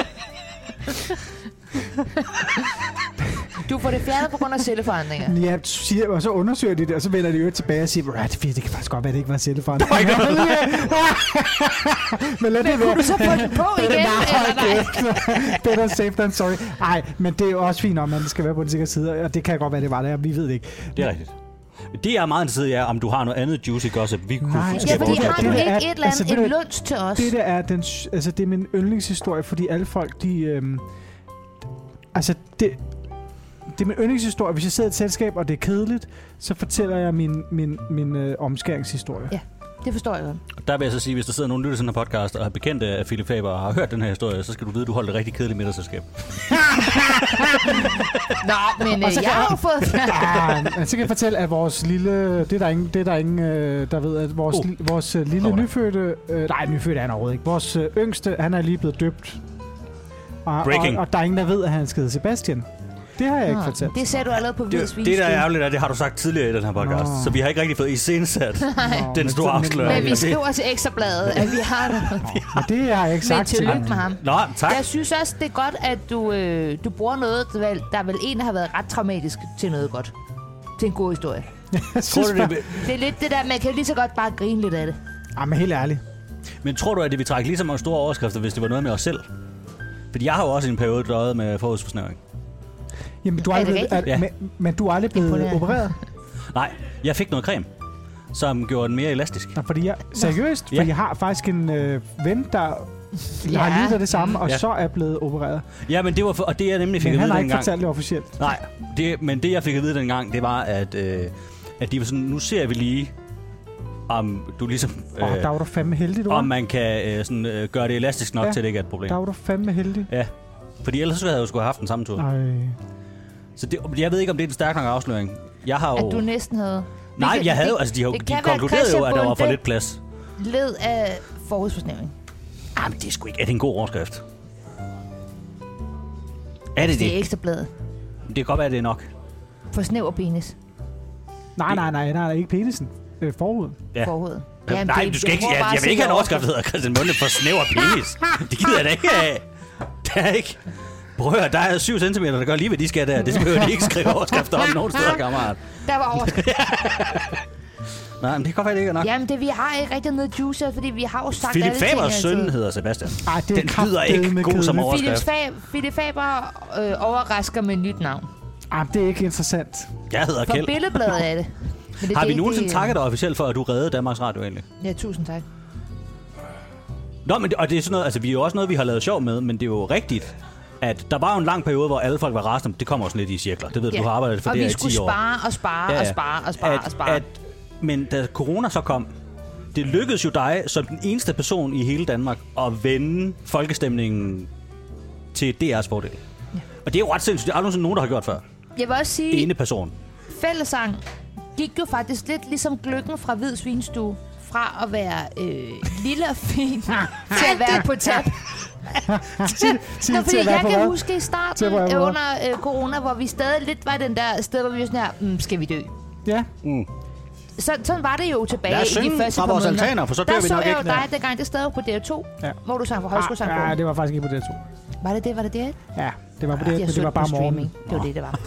du får det fjernet på grund af celleforandringer. Ja, siger, og så undersøger de det, og så vender de jo tilbage og siger, at det, det kan faktisk godt være, det ikke var celleforandring. Der var ikke noget. men lad det være. Kunne du så få den på igen? eller nej? Better safe than sorry. Nej, men det er jo også fint om, at man skal være på den sikre side, og det kan godt være, det var der. Vi ved det ikke. Det er rigtigt. Det jeg er meget interesseret i, er, om du har noget andet juicy gossip, vi kunne Nej. Ja, Nej, skal fordi altså, vores- har du Det ikke er- et eller altså, andet, ved du en hvad? lunds til os? Det der er, den, s- altså, det er min yndlingshistorie, fordi alle folk, de... Øhm, altså, det, det er min yndlingshistorie. Hvis jeg sidder i et selskab, og det er kedeligt, så fortæller jeg min, min, min øh, omskæringshistorie. Det forstår jeg godt. Der vil jeg så sige, hvis der sidder nogen og lytter til den her podcast og er bekendt af Philip Faber og har hørt den her historie, så skal du vide, at du holdt et rigtig kedeligt middagsselskab. Nå, men øh, jeg har jo fået Ah, men så kan jeg fortælle, at vores lille... Det er der ingen, det er der, ingen øh, der ved, at vores, Oh. oh. li, vores øh, lille Nå, oh, nej. nyfødte... Øh, nej, nyfødte er han overhovedet ikke. Vores øh, yngste, han er lige blevet døbt. Og, Breaking. Og, og der er ingen, der ved, at han skal hedde Sebastian. Det har jeg ikke fortalt. Det sagde du allerede på Det, vis det der er ærgerligt, er, det har du sagt tidligere i den her podcast, Nå. så vi har ikke rigtig fået iscenesat Nå, den men store sådan- afsløring. Altså, Men vi Det- skriver til ekstrabladet, at vi har noget. Men det har jeg ikke Men sagt til tillykke ham. med ham. Nå, tak. Jeg synes også, det er godt, at du, øh, du bruger noget, der vel, der vel en har været ret traumatisk til noget godt. Til en god historie. Jeg Tror synes du, bare, det, Det er lidt det der, man kan jo lige så godt bare grine lidt af det. ah, men helt ærligt. men tror du, at det vi trække lige så mange store overskrifter, hvis det var noget med os selv? Fordi jeg har jo også i en periode døjet med forhudsforsnævring. Jamen, du er Er aldrig det blevet, er, rigtigt? men, men du er aldrig blevet Imponerende. opereret? Nej, jeg fik noget creme, som gjorde den mere elastisk. Nå, fordi jeg, seriøst, for Ja. jeg har faktisk en øh, ven, der ja. har Ja. lidt af det samme, og Ja. ja. så er blevet opereret. Ja, men det var for, og det jeg nemlig fik Men at han vide har ikke dengang. fortalt det officielt. Nej, det, men det jeg fik at vide dengang, det var, at, øh, at de var sådan, nu ser vi lige, om du ligesom... Åh, der var du fandme heldig, du om var. man kan øh, sådan, øh, gøre det elastisk nok ja. Ja. til, at det ikke er et problem. Der var du fandme heldig. Ja. Fordi ellers så havde jeg jo skulle have haft den samme tur. Nej. Så det, jeg ved ikke, om det er en stærk nok afsløring. Jeg har jo... At du næsten havde... Nej, Det- jeg havde det- jo... Altså, de, har, jo- det de kan være, at konkluderede jo, at der Christian var for Bonde- lidt plads. Led af forhudsforsnævning. Ah, men det er sgu ikke... Er det en god overskrift? Er det det? Det er ekstrabladet. Det kan godt være, at det er nok. For snæv og penis. nej, nej, nej, nej, ikke penisen. Øh, forhud. Ja. Ja. Forhovedet. Jamen, Nej, du skal ikke... tror Jeg, bare, jeg vil ikke have en at overskrift, der hedder Christian Munde for snæver penis. Det gider jeg da ikke af. Det er ikke... Prøv at høre, der er 7 cm, der gør lige, hvad de skal der. Det behøver de ikke skrive overskrifter om nogen steder, kammerat. Der var overskrift. Nej, men det kan godt være, det ikke er nok. Jamen, det vi har ikke rigtig noget juicer, fordi vi har jo sagt Philip alle Fabers ting søn altid. hedder Sebastian. Ej, det er Den lyder ikke kraftedeme god som kedeligt. Philip, overskrift. Fab, Philip Faber øh, overrasker med et nyt navn. Ej, det er ikke interessant. Jeg hedder For Kjeld. billedbladet er det. Men det Har det vi er nogensinde ikke- takket dig officielt for, at du reddede Danmarks Radio egentlig? Ja, tusind tak. Nå, men det, og det er sådan noget, altså vi er jo også noget, vi har lavet sjov med, men det er jo rigtigt, at der var jo en lang periode, hvor alle folk var rasende. Det kommer også lidt i cirkler. Det ved du, Ja. du har arbejdet for og det her vi i skulle 10 år. spare og spare og spare og spare og spare. At, men da corona så kom, det lykkedes jo dig som den eneste person i hele Danmark at vende folkestemningen til DR's fordel. Ja. Og det er jo ret sindssygt. Det er aldrig nogensinde nogen, der har gjort før. Jeg vil også sige, Ene person. fællesang gik jo faktisk lidt ligesom gløggen fra Hvid Svinstue. Fra at være øh, lille og fin til at være på tab. Sig Nå, til fordi at være jeg på kan hvad? huske i Til starten at være på øh, hvad? under øh, corona, hvor vi stadig lidt var den der sted, hvor vi var sådan her, mm, skal vi dø? Ja. Mm. så, sådan var det jo tilbage Lad os i de synge første par fra vores måneder. altaner, for så dør der vi så nok jeg ikke. jo dig, dengang det stadig var på DR2, Ja. Ah, ja. hvor du sang på højskolesangbogen. ja, det var faktisk ikke på det to. Var det det, var det det? Ja, det var på det, jeg men det så var på bare morgen. streaming. Det var det, det var.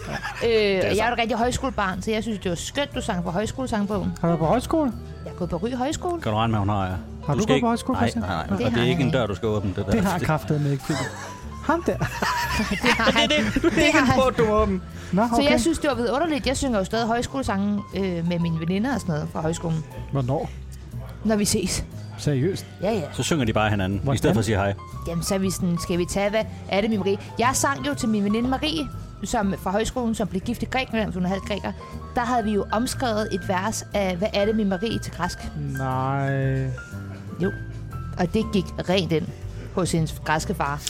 øh, og jeg er et rigtig højskolebarn, så jeg synes, det var skønt, du sang på højskolesangbogen. Har du været på højskole? Jeg er gået på Ry Højskole. Kan du regne med, hun har ja. Har du skal gået ikke- på højskole, Nej, Christian? nej, nej. Nej. Og Det det har er ikke en jeg dør, du skal åbne. Det, der. Det har kraftet med ikke. Peter. Ham der. Det har han. det har han. du åben. Nå, Så okay. jeg synes, det var vidunderligt. Jeg synger jo stadig højskolesange øh, med mine veninder og sådan noget fra højskolen, Hvornår? når vi ses. Seriøst? Ja, ja. Så synger de bare hinanden, i Hvordan? stedet for at sige hej. Jamen, så er vi sådan, skal vi tage, hvad er det med Marie? Jeg sang jo til min veninde Marie, som fra højskolen, som blev gift i Grækenland, hun er halvt græker. Der havde vi jo omskrevet et vers af, hvad er det med Marie til græsk? Mm. Nej. Jo. Og det gik rent ind hos hendes græske far.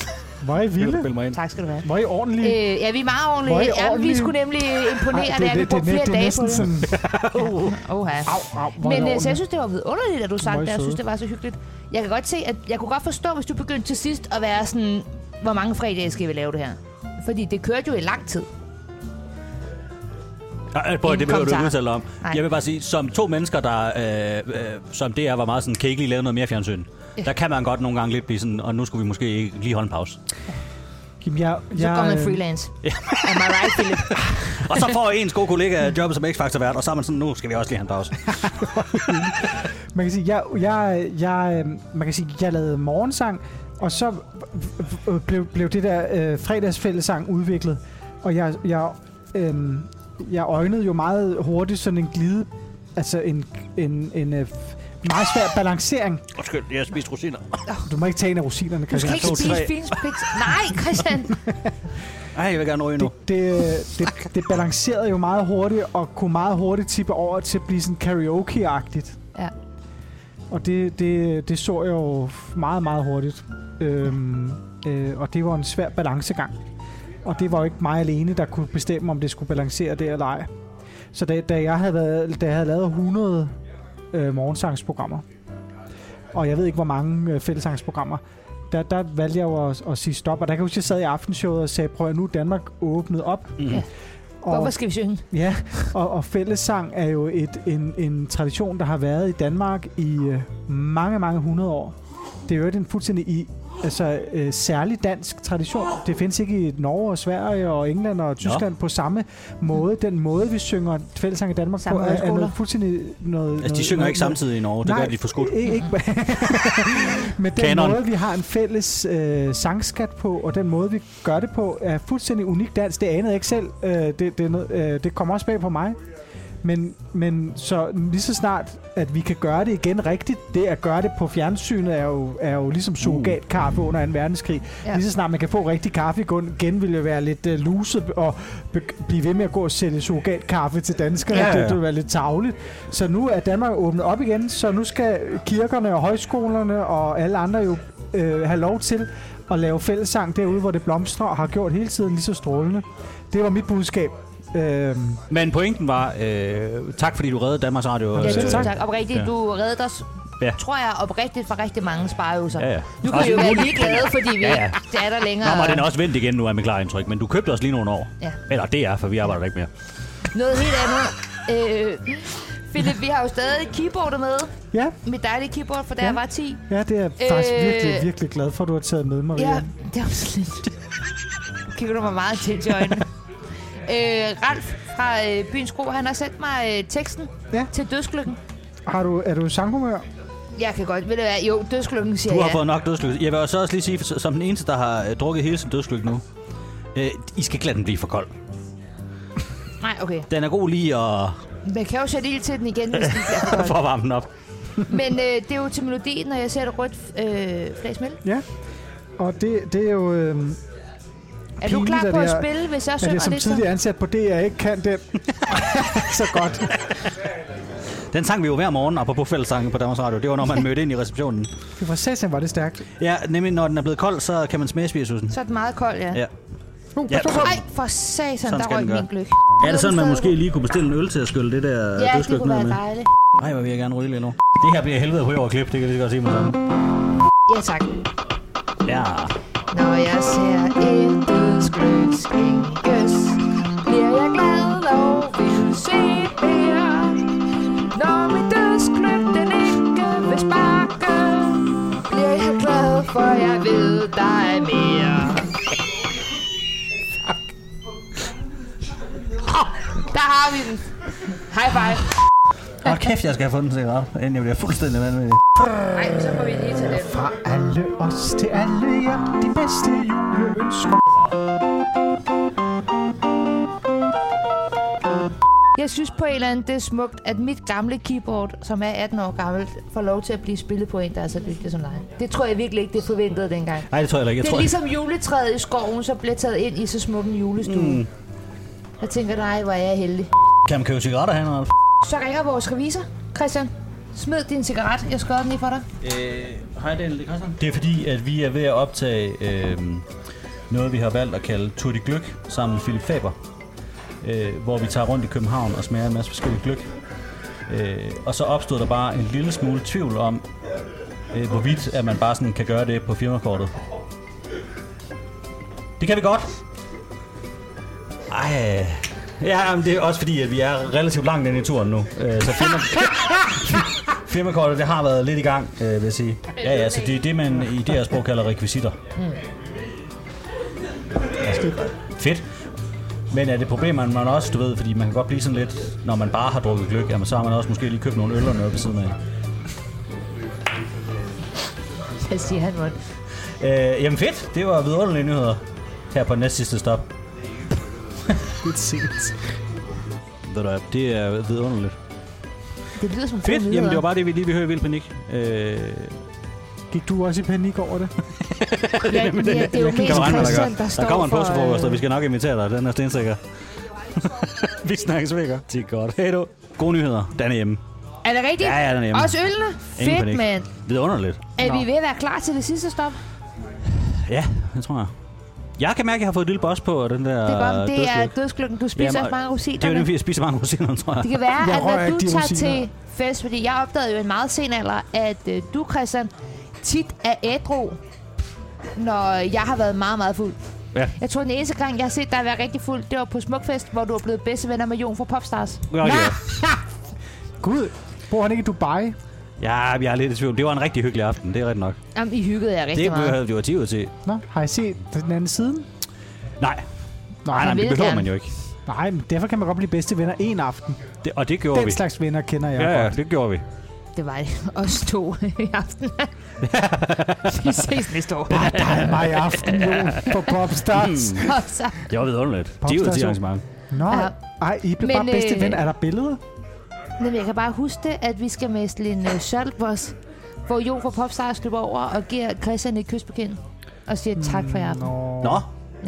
Hvor er I vilde? Spil mig ind. Tak skal du have. Hvor er I ordentlige? Øh, ja, vi er meget Mm. Hvor er I ordentlige. Ja, vi ordentlige? skulle nemlig imponere, Ej, det, det, er det, vi det, det, er brugte flere næ- det er dage på næsten det. sådan... Oha. Au, au, hvor er Men I øh, så jeg ordentlige. synes, det var vidunderligt, at du sang Hvor er I det. Jeg synes, søde. det var så hyggeligt. Jeg kan godt se, at jeg kunne godt forstå, hvis du begyndte til sidst at være sådan, hvor mange fredage skal vi lave det her? Fordi det kørte jo i lang tid. Ej, Boy, En det behøver du ikke kommentar. udtale dig om. Nej. Jeg vil bare sige, som to mennesker, der øh, øh, som det er, var meget sådan, kan I ikke lige lave noget mere fjernsyn? Ja. Der kan man godt nogle gange lidt blive sådan, og nu skulle vi måske ikke lige holde en pause. Jamen, jeg, jeg, Så går man øh, freelance. Am I right, Philip? Og så får ens gode kollega jobbet som X-Factor vært, og så er man sådan, nu skal vi også lige have en pause. Man kan sige, jeg, jeg, jeg, øh, man kan sige, jeg lavede morgensang, og så øh, øh, blev, blev det der øh, fredagsfællesang udviklet. Og jeg, jeg, øh, jeg øjnede jo meget hurtigt sådan en glide, altså en, en, en øh, meget svær balancering. Undskyld, jeg har spist rosiner. Du må ikke tage en af rosinerne, Du skal Christian. ikke to, spise tre. finspids. Nej, Christian. Ej, jeg vil gerne ryge nu. Det, det, det, det balancerede jo meget hurtigt, og kunne meget hurtigt tippe over til at blive sådan karaoke-agtigt. Ja. Og det, det, det så jeg jo meget, meget hurtigt. Øhm, øh, og det var en svær balancegang. Og det var jo ikke mig alene, der kunne bestemme, om det skulle balancere det eller ej. Så da, da, jeg, havde været, da jeg havde lavet 100 øh, morgensangsprogrammer, og jeg ved ikke, hvor mange øh, fællesangsprogrammer, der, der valgte jeg jo at, at sige stop. Og der kan jeg huske, at jeg sad i aftenshowet og sagde, prøv at nu er Danmark åbnet op. Mhm. Ja. Hvorfor skal vi synge? Ja, og, og fællessang er jo et, en, en tradition, der har været i Danmark i øh, mange, mange hundrede år. Det er jo en fuldstændig i, altså, øh, særlig dansk tradition. Det findes ikke i Norge og Sverige og England og Tyskland på samme måde. Den måde, vi synger fællessang i Danmark Samme på, er, er højskoler. noget fuldstændig noget... Altså, de noget- synger noget- ikke samtidig i Norge, det gør de for skudt. Ikke, ikke. Men den Kanon. Canon. måde, vi har en fælles øh, sangskat på, og den måde, vi gør det på, er fuldstændig unik dansk. Det anede jeg ikke selv. Øh, det, det, er noget- øh, det kommer også bag på mig. Men, men så lige så snart, at vi kan gøre det igen rigtigt, det at gøre det på fjernsynet er jo, er jo Uh. ligesom surrogatkaffe under 2. verdenskrig. Ja. Ja. Lige så snart man kan få rigtig kaffe igen, igen vil jo være lidt uh, luset og be- blive ved med at gå og sælge surrogatkaffe til danskere. Ja, Ja, ja, ja. ja. Det, det vil være lidt tavligt. Så nu er Danmark åbnet op igen, så nu skal kirkerne og højskolerne og alle andre jo øh, have lov til at lave fællessang derude, hvor det blomstrer og har gjort hele tiden lige så strålende. Det var mit budskab. Øhm, Men pointen var, øh, tak fordi du reddede Danmarks Radio. Ja, øh, selv tusind tak. tak. Oprigtigt, Ja. du reddede os, Ja. ja. tror jeg, oprigtigt fra rigtig mange spareøvelser. Ja, ja. Nu kan Også vi jo en være mulig- ligeglade, fordi vi Ja, ja, ja. ja. ikke er der længere. Nå, men den er også vendt igen nu, er mit klare indtryk. Men du købte også lige nogle år. Ja. Eller det er, for vi arbejder ikke mere. Noget helt andet. Øh, Philip, vi har jo stadig keyboardet med. ja, Mit dejlige keyboard, for da ja. Ja. jeg var 10. ja, det er jeg faktisk Øh. virkelig, virkelig glad for, at du har taget med, Maria. Ja, det var så lidt. Kigger du mig meget tæt i øjnene. øh, Ralf fra øh, Byens Gro, han har sendt mig øh, teksten Ja. ja. til Dødsklykken. Har du, er du i sanghumør? Jeg kan godt, ved du hvad, jo, Dødsklykken siger Du har jeg. fået nok dødslykke. Jeg vil også også lige sige, for- som den eneste, der har øh, drukket hele sin dødslykke nu, øh, I skal ikke lade den blive for kold. Nej, okay. Den er god lige at Man kan jo sætte ild til den igen, hvis det bliver for godt. for at varme den op. Men øh, det er jo til melodien, når jeg ser et rødt øh, flagsmæld. Ja. Og det, det er jo... Øhm, Er du Pinligt, klar at på at jeg- spille, hvis jeg at synger jeg som lidt? så? tidligere ansat på DR ikke kan den så godt. Den sang vi jo hver morgen, apropos fællessange på Danmarks Radio. Det var, når man mødte ind i receptionen. Det var satan, var det stærkt. Ja, nemlig når den er blevet kold, så kan man smage spiritusen. Så er det meget koldt, ja. Ja. Uh, Ja. Ej, for satan, Sådan der skal røg den gøre. min gløk. Er det sådan, man måske lige kunne bestille en øl til at skylle det der Ja, det dødslykke kunne ned være med? dejligt. Nej, hvor vil jeg gerne ryge lige nu. Det her bliver helvede på over klip, det kan jeg lige så godt sige med sammen. Ja, tak. Ja. Når jeg ser et dødsgløb skænkes, bliver jeg glad og vil se mere. Når for jeg ved, der er mere. Fuck. Der har vi den. High five. Hold kæft, jeg skal have fundet en cigaret, inden jeg bliver fuldstændig vanvittig. Nej, så får vi lige til den. Fra alle os til alle jer, de bedste juleønsker. Jeg synes på en eller anden, det er smukt, at mit gamle keyboard, som er 18 år gammelt, får lov til at blive spillet på en, der er så dygtig som dig. Det tror jeg virkelig ikke, det forventede dengang. Nej, det tror jeg heller ikke. Jeg Det er tror, ligesom juletræet i skoven, så bliver taget ind i så smuk en julestue. Mm. Jeg tænker, nej, hvor er jeg heldig. jeg kan man købe cigaretter herinde, Ralf? Så ringer vores revisor, Christian. Smid din cigaret, jeg skød den lige for dig. Øh, hej Daniel, det er Christian. Det er fordi, at vi er ved at optage øh, noget, vi har valgt at kalde Tour de Gløk sammen med Philip Faber. Øh, hvor vi tager rundt i København og smager en masse forskellige gløk. Øh, og så opstod der bare en lille smule tvivl om, øh, hvorvidt at man bare sådan kan gøre det på firmakortet. Det kan vi godt. Ej. Ja, men det er også fordi, at vi er relativt langt inde i turen nu. Øh, så firma... firmakortet, det har været lidt i gang, øh, vil jeg sige. Ja, ja, så det er det, man i det her sprog kalder rekvisitter. Ja. Fedt. Men er det problem, at man også, du ved, fordi man kan godt blive sådan lidt, når man bare har drukket gløk, jamen så har man også måske lige købt nogle øl og noget ved siden af. Jeg siger han rundt. Øh, jamen fedt, det var vidunderlige nyheder her på næst sidste stop. Lidt sent. Ved du, hvad, det er vidunderligt. Det lyder som Fedt, gode jamen det var nyheder. bare det, vi lige vil høre i Vild Panik. Øh, Gik du også i panik over det? Ja, ja, det er jo mest kan regne med, der, Christian, gør. der, står der kommer en for... øh, påskefrokost, og vi skal nok invitere dig, den er stensikker. vi snakkes væk, Det er godt. Hej du. Gode nyheder. Den er hjemme. Er det rigtigt? Ja, ja, den er hjemme. Også ølene? Ingen Fedt, panik. mand. Vidunderligt. Er vi ved at være klar til det sidste stop? Ja, det tror jeg. Jeg kan mærke, at jeg har fået et lille boss på og den der Det er godt, det er dødslykke. dødsklokken. Du spiser Øh, Jamen, for mange Det er rosinerne. jo den, fordi jeg spiser mange rosiner, tror jeg. Det kan være, Jeg at når rører du ikke de tager rosiner. til fest, fordi jeg opdagede jo i en meget sen alder, at øh, du, Christian, tit er ædru, når jeg har været meget, meget fuld. Ja. Jeg tror, den eneste gang, jeg har set dig være rigtig fuld, det var på Smukfest, hvor du var blevet bedste venner med Jon fra Popstars. Ja, det er. Gud, bor han ikke i Dubai? Ja, jeg er lidt i tvivl. Det var en rigtig hyggelig aften, det er rigtigt nok. Jamen, I hyggede jer rigtig Det meget. behøver det var 10 ud af 10. Nej, Nå, har I set den anden side? nej, Nej, nej, men det vil behøver gerne. man jo ikke. Nej, men derfor kan man godt blive bedste venner en aften. Det, og det gjorde Den vi. slags venner kender jeg Ja, ja, godt. det gjorde vi. Det var os to i aften. vi ses næste år. Bare dig og mig i aften, jo, på Popstars. Mm. Og så- Det var vidunderligt. 10 ud af 10 Popstation. arrangement. Nå, Ja. ej, I blev Men, bare bedste øh, venner. Er der billeder? Men jeg kan bare huske det, at vi skal mestle en uh, sølvboss, hvor Jon fra Popstars løber over og giver Christian et kys på kinden og siger tak for jer. Mm, Nå, Nå,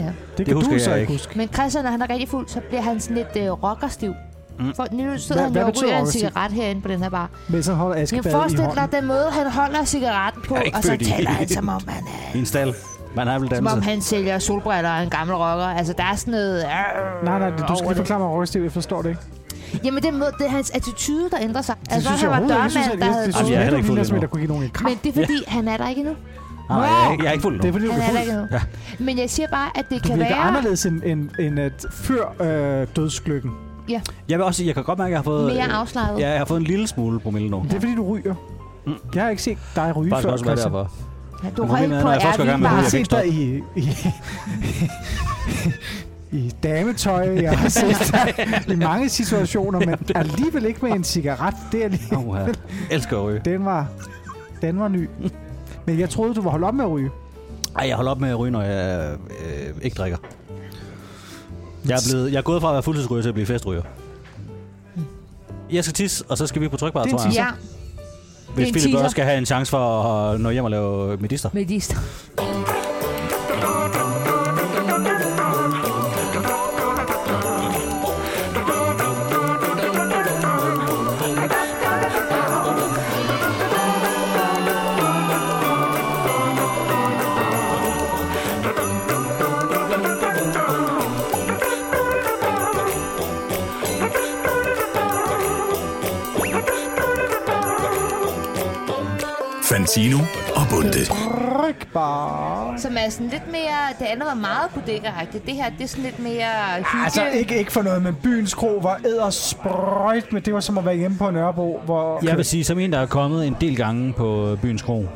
Ja. det kan husker du jeg så ikke. ikke huske. Men Christian, når han er rigtig fuld, så bliver han sådan lidt øh, rockerstiv. Mm. For nu sidder Hvad- han hvad jo og betyder ryger en rockerstiv? cigaret herinde på den her bar. Men så holder Kan Aske jeg Bade i forestille hånden. dig den måde, han holder cigaretten på, Jeg er ikke og så født i- taler han som om, han, er, i en stald. Man har vel som om danset. han sælger solbriller og er en gammel rocker. Altså, der er sådan noget... Øh, Nej, nej, du skal over lige forklare mig, Røgstiv, jeg forstår det ikke. Det Jamen, det, er måde, det er hans attitude, der ændrer sig. Altså, synes han var overhovedet ikke. Jeg synes, dørmand, der at- jeg- havde... Det synes Jamen, jeg har jeg heller ikke ikke, fået du det som en, endnu. der kunne give nogen en kram. Men det er fordi, han er der ikke endnu. Nej, jeg er ikke- jeg er ikke fuld Det er nu. fordi, du Han er der bliver ikke fuld. endnu. Ja. Men jeg siger bare, at det Du kan virker være... anderledes end, end, end at før øh, dødsklykken. Jeg vil også sige, jeg kan godt mærke, at jeg har fået... Mere øh, afslappet. Ja, jeg har fået en lille smule promille nu. Det er fordi, du ryger. Jeg har ikke set dig ryge Faktisk før, også, hvad Mm. det er for. Ja, Du Men røg problemet er, på når jeg først går i gang med Jeg ryge, Airbnb. har jeg kan set ikke dig i, i, i dametøj, jeg har set dig i mange situationer, men alligevel ikke med en cigaret. Det er lige, Åh, oh, Elsker at ryge. den, var, den var ny. Men jeg troede, du var holdt op med at ryge. Ej, jeg holder op med at ryge, når jeg øh, ikke drikker. Jeg er, blevet, jeg er gået fra at være fuldtidsryger til at blive festryger. Jeg skal tisse, og så skal vi på trykbar, Det er en tror jeg. Ja, det er Hvis en Philip teaser. også skal have en chance for at nå hjem og lave medister. med de st- Fantino og Bunde. Rygbar. Som er sådan lidt mere... Det andet var meget kudækkeragtigt. Det her, det er sådan lidt mere hygge. Altså, ikke, ikke for noget, men byens kro var ædersprøjt, men det var som at være hjemme på Nørrebro, hvor... Jeg vil sige, som en, der er kommet en del gange på byens kro,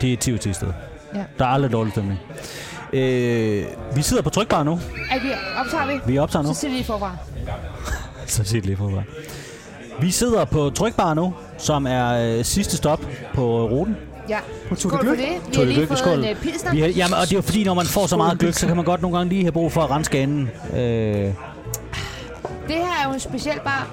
Det er et tivt sted. Ja. Der er aldrig dårlig stemning. Øh, vi sidder på trykbar nu. Er vi, optager vi? Vi optager nu. Så sidder vi forfra. Så set lige forfra. Vi sidder på trykbar nu, som er øh, sidste stop på øh, ruten. Ja. På Tour de Skål for Glück. det. Vi har Tour de lige Glück, fået skål. en uh, pilsner. Vi har, jamen, og det er jo fordi, når man får så meget gløk, så kan man godt nogle gange lige have brug for at rense ganen. Øh, Det her er jo en speciel bar,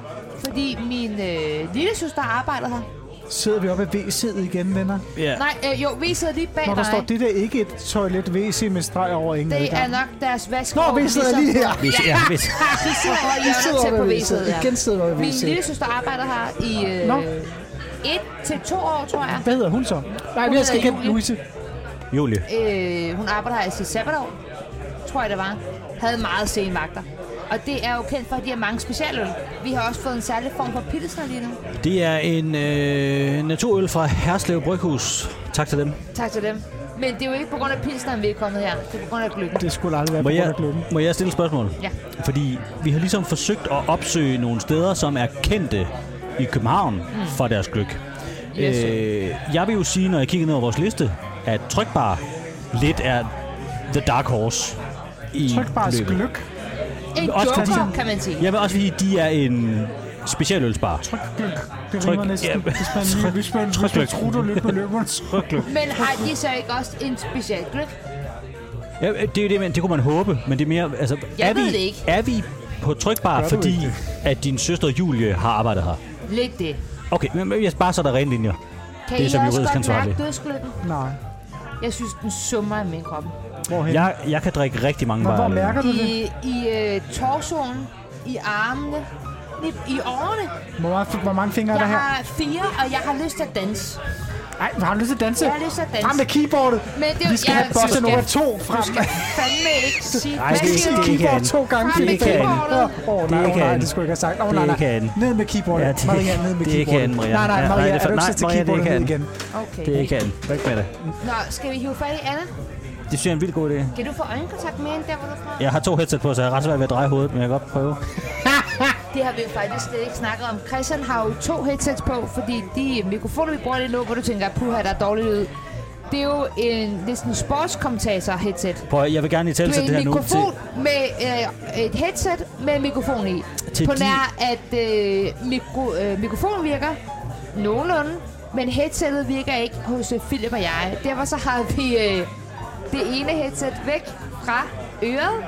fordi min øh, lille søster arbejder her. Sidder vi oppe af WC'et igen, venner? ja. Nej, øh, jo, vi sidder lige bag Nå, der står, dig. det der ikke et toilet WC med streg over ingen Det er adgang. nok deres vask. Nå, vi sidder lige her. Hvis, ja, hvis, Vi sidder over i Vi hjørnet sidder tæt oppe på af væset. WC'et. Igen sidder vi oppe af Min lille WC'et. søster arbejder her i øh, Nå. et til to år, tror jeg. Hvad hedder hun så? Nej, Hun jeg skal hedder ikke Julie. Louise. Julie. Øh, hun arbejder her i sit sabbatår, tror jeg det var. Havde meget sene vagter. Og det er jo kendt for, at de har mange specialøl. Vi har også fået en særlig form for pilsner lige nu. Det er en øh, naturøl fra Herslev Bryghus. Tak til dem. Tak til dem. Men det er jo ikke på grund af pilsneren, vi er kommet her. Det er på grund af gløggen. Det skulle aldrig være på Må grund jeg, af gløben. må jeg stille et spørgsmål? Ja. Fordi vi har ligesom forsøgt at opsøge nogle steder, som er kendte i København mm. for deres gløk. Yes. Øh, jeg vil jo sige, når jeg kigger ned over vores liste, at Trykbar lidt er the dark horse i Tryk bare løbet. gløk. En også fordi- joker, kan man sige. Jeg vil også sige, at de er en specialølsbar. Tryk gløk. Det Tryk- rimer ja. næsten. Hvis man lige, hvis man, Tryk hvis man gløk. trutter lidt på løberne. Tryk gløk. Men har de så ikke også en speciel gløgg? Ja, det er jo det, men det kunne man håbe, men det er mere... Altså, Jeg er vi, ved det ikke. Er vi på trykbar, Gør du fordi ikke at din søster Julie har arbejdet her? Lidt det. Okay, men men jeg bare så der er rene linjer. Kan Det er I som også juridisk godt mærke ansvarlig. dødsgløggen? Nej. Jeg synes, den summer i min krop. Hvorhen? Jeg, jeg kan drikke rigtig mange Nå, bajer hvor alene. mærker du det? I, i øh, torsoen, i armene, i, i årene. Hvor mange, hvor mange fingre er der Jeg her? har fire, og jeg har lyst til at danse. Ej, har du lyst til at danse? Jeg har lyst til at danse. Frem med keyboardet. Men det, er jo- Vi skal jeg, have Bossa Nova 2 frem. Du skal fandme ikke sige... Nej, Hvad det er siger ikke- du? det er Keyboard ikke to gange. Frem med Det er ikke keyboardet. andet. Åh, oh, nej, Det er oh, ikke nej, andet. det skulle jeg ikke have sagt. Åh, Det nej, er nej. ikke andet. Ned med keyboardet. Ja, det er- Marianne, ned med det er ikke keyboardet. andet, Marianne. Nej, Ja, nej, nej, Marianne, det er er du for- ikke til nej, det er keyboardet ikke ned andet. igen? Okay. Det er ikke andet. Væk med det. Nå, skal vi hive fat i Anna? Det synes jeg er en vild god idé. Kan du få øjenkontakt med hende der, hvor du er fra? Jeg har to headset på, så jeg er ret svært ved at dreje hovedet, men jeg kan godt prøve. Det har vi jo faktisk slet ikke snakket om. Christian har jo to headsets på, fordi de mikrofoner, vi bruger lige nu, hvor du tænker, puha, der er dårlig lyd. Det er jo en, det er sådan en sportskommentator-headset. Prøv, at- jeg vil gerne i Du tale er Altså, det her en nu til, mikrofon med øh, et headset med en mikrofon i. Til på de- nær, at øh, mikro, øh, mikrofonen virker nogenlunde, men headsettet virker ikke hos øh, Philip og jeg. Derfor så har vi øh, det ene headset væk fra øret,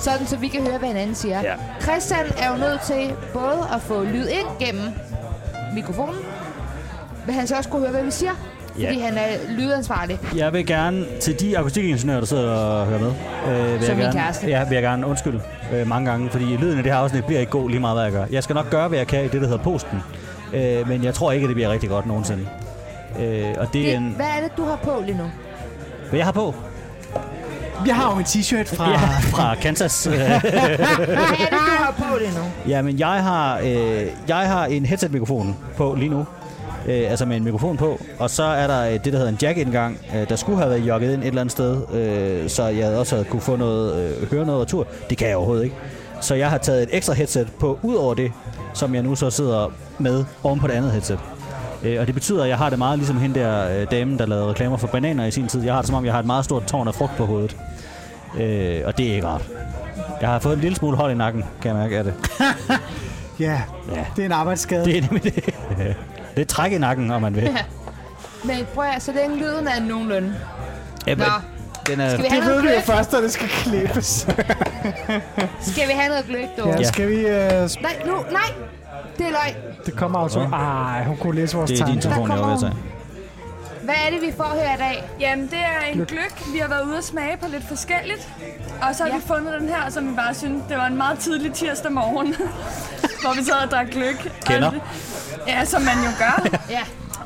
sådan så vi kan høre, hvad hinanden siger. Ja. Christian er jo nødt til både at få lyd ind gennem mikrofonen, men han skal også kunne høre, hvad vi siger, Ja. fordi han er lydansvarlig. jeg vil gerne til de akustikingeniører, der sidder og hører med. Øh, vil Som jeg min gerne, kæreste. Ja, vil jeg gerne undskylde øh, mange gange, fordi lyden af det her afsnit bliver ikke god lige meget, hvad jeg gør. Jeg skal nok gøre, hvad jeg kan i det, der hedder posten. Øh, men jeg tror ikke, at det bliver rigtig godt nogensinde. Øh, og det er Det, en... hvad er det, du har på lige nu? Hvad jeg har på? Jeg har jo en t-shirt fra... Ja, fra Kansas. Øh, Hvad er det, du har på lige nu? Jamen, jeg har, øh, jeg har en headset-mikrofon på lige nu. Øh, altså med en mikrofon på. Og så er der øh, det, der hedder en jack-indgang, øh, der skulle have været jogget ind et eller andet sted. Øh, så jeg også havde kunne få noget, øh, høre noget retur. Det kan jeg overhovedet ikke. Så jeg har taget et ekstra headset på ud over det, som jeg nu så sidder med oven på det andet headset. Øh, og det betyder, at jeg har det meget ligesom hende der øh, dame, der lavede reklamer for bananer i sin tid. Jeg har det som om, jeg har et meget stort tårn af frugt på hovedet. Øh, og det er ikke rart. Jeg har fået en lille smule hold i nakken, kan jeg mærke af det. Ja, Ja. det er en arbejdsskade. Det er nemlig det. Det er træk i nakken, om man vil. Men prøv at, så længe lyden er nogenlunde. Ja, men Nå, den er, skal vi Det have ved noget vi jo gløk? først, at det skal klippes. Skal vi have noget gløk, dog? Ja, Ja. skal vi... øh, s- Nej, nu, nej! Det er løgn. Det kommer auto. Ej, hun kunne læse vores det er din tanker. telefon, jeg var ved at tage. Hvad er det, vi får her i dag? Jamen, det er en gløk. Vi har været ude og smage på lidt forskelligt. Og så har Ja. ja. vi fundet den her, som vi bare synes, det var en meget tidlig tirsdag morgen, hvor vi sad og drak gløk. Kender. Og, ja, som man jo gør. Ja,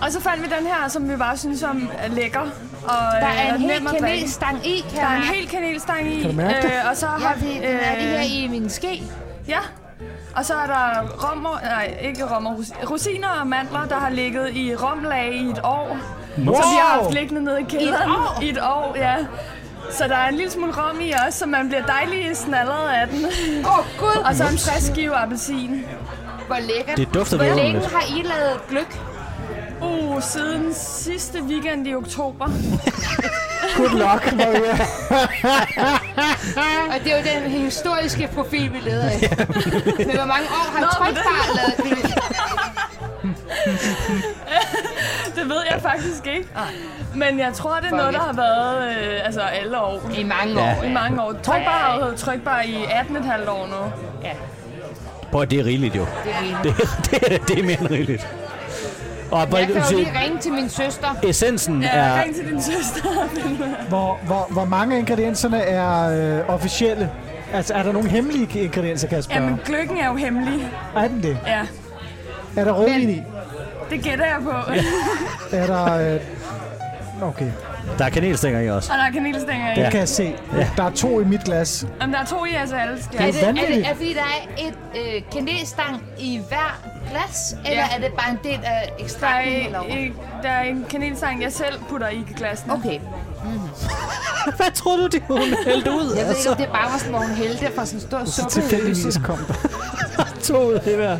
og så fandt vi den her, som vi bare synes om er lækker. Og der er en øh, nem hel at drikke. kanelstang i, kan Der er jeg en mærke. hel kanelstang i. Øh, Kan du mærke det? og så Ja, har vi... øh, fordi den er lige her i min ske. Ja. Og så er der rommer, nej, ikke rommer, ros- rosiner og mandler, der har ligget i romlag i et år. Wow! Så vi har haft liggende nede i kælderen. år? I et år, ja. Så der er en lille smule rom i også, så man bliver dejlig snallet af den. Åh, oh, gud! Og så en frisk skive appelsin. Hvor lækkert. Det dufter Hvor vidunderligt. længe har I lavet gløk? Uh, siden sidste weekend i oktober. Good luck, Maria. Og det er jo den historiske profil, vi leder efter. Men hvor mange år har Nå, men Trykbar lavet det? Det ved jeg faktisk ikke. Men jeg tror, det er noget, der har været øh, altså alle år. I mange år. I mange år. Trykbar har jo heddet Trykbar i 18,5 år nu. Prøv at det er rigeligt jo. Det er Det, det, det er mere end rigeligt. Og jeg kan jo bare, lige ringe til min søster. essensen Ja, er... ring til din søster. Hvor, hvor, hvor mange af ingredienserne er øh, officielle? Altså, er der nogle hemmelige ingredienser, kan jeg spørge? Jamen, gløggen er jo hemmelig. Er den det? Ja, Er der rødvin i? det gætter jeg på. Er der... Øh... Okay, Der er kanelstænger i også. Og der er kanelstænger i. det Ja. kan jeg se. Der er to i mit glas. Jamen, der er to i jeres alle Er skal. det, er det, vanvittigt. er det fordi, der er et øh, kanelstang i hver glas, eller Ja. er det bare en del af Der er, ekstrakten? eller hvad? i- der er en kanelstang, jeg selv putter i glassene. Okay. Hvad tror du, det hun hældte ud? Altså, Jeg ved ikke, om det bare var sådan, hvor hun hældte fra sådan en stor suppe. Tilfældigvis kom der. to ud af det hver.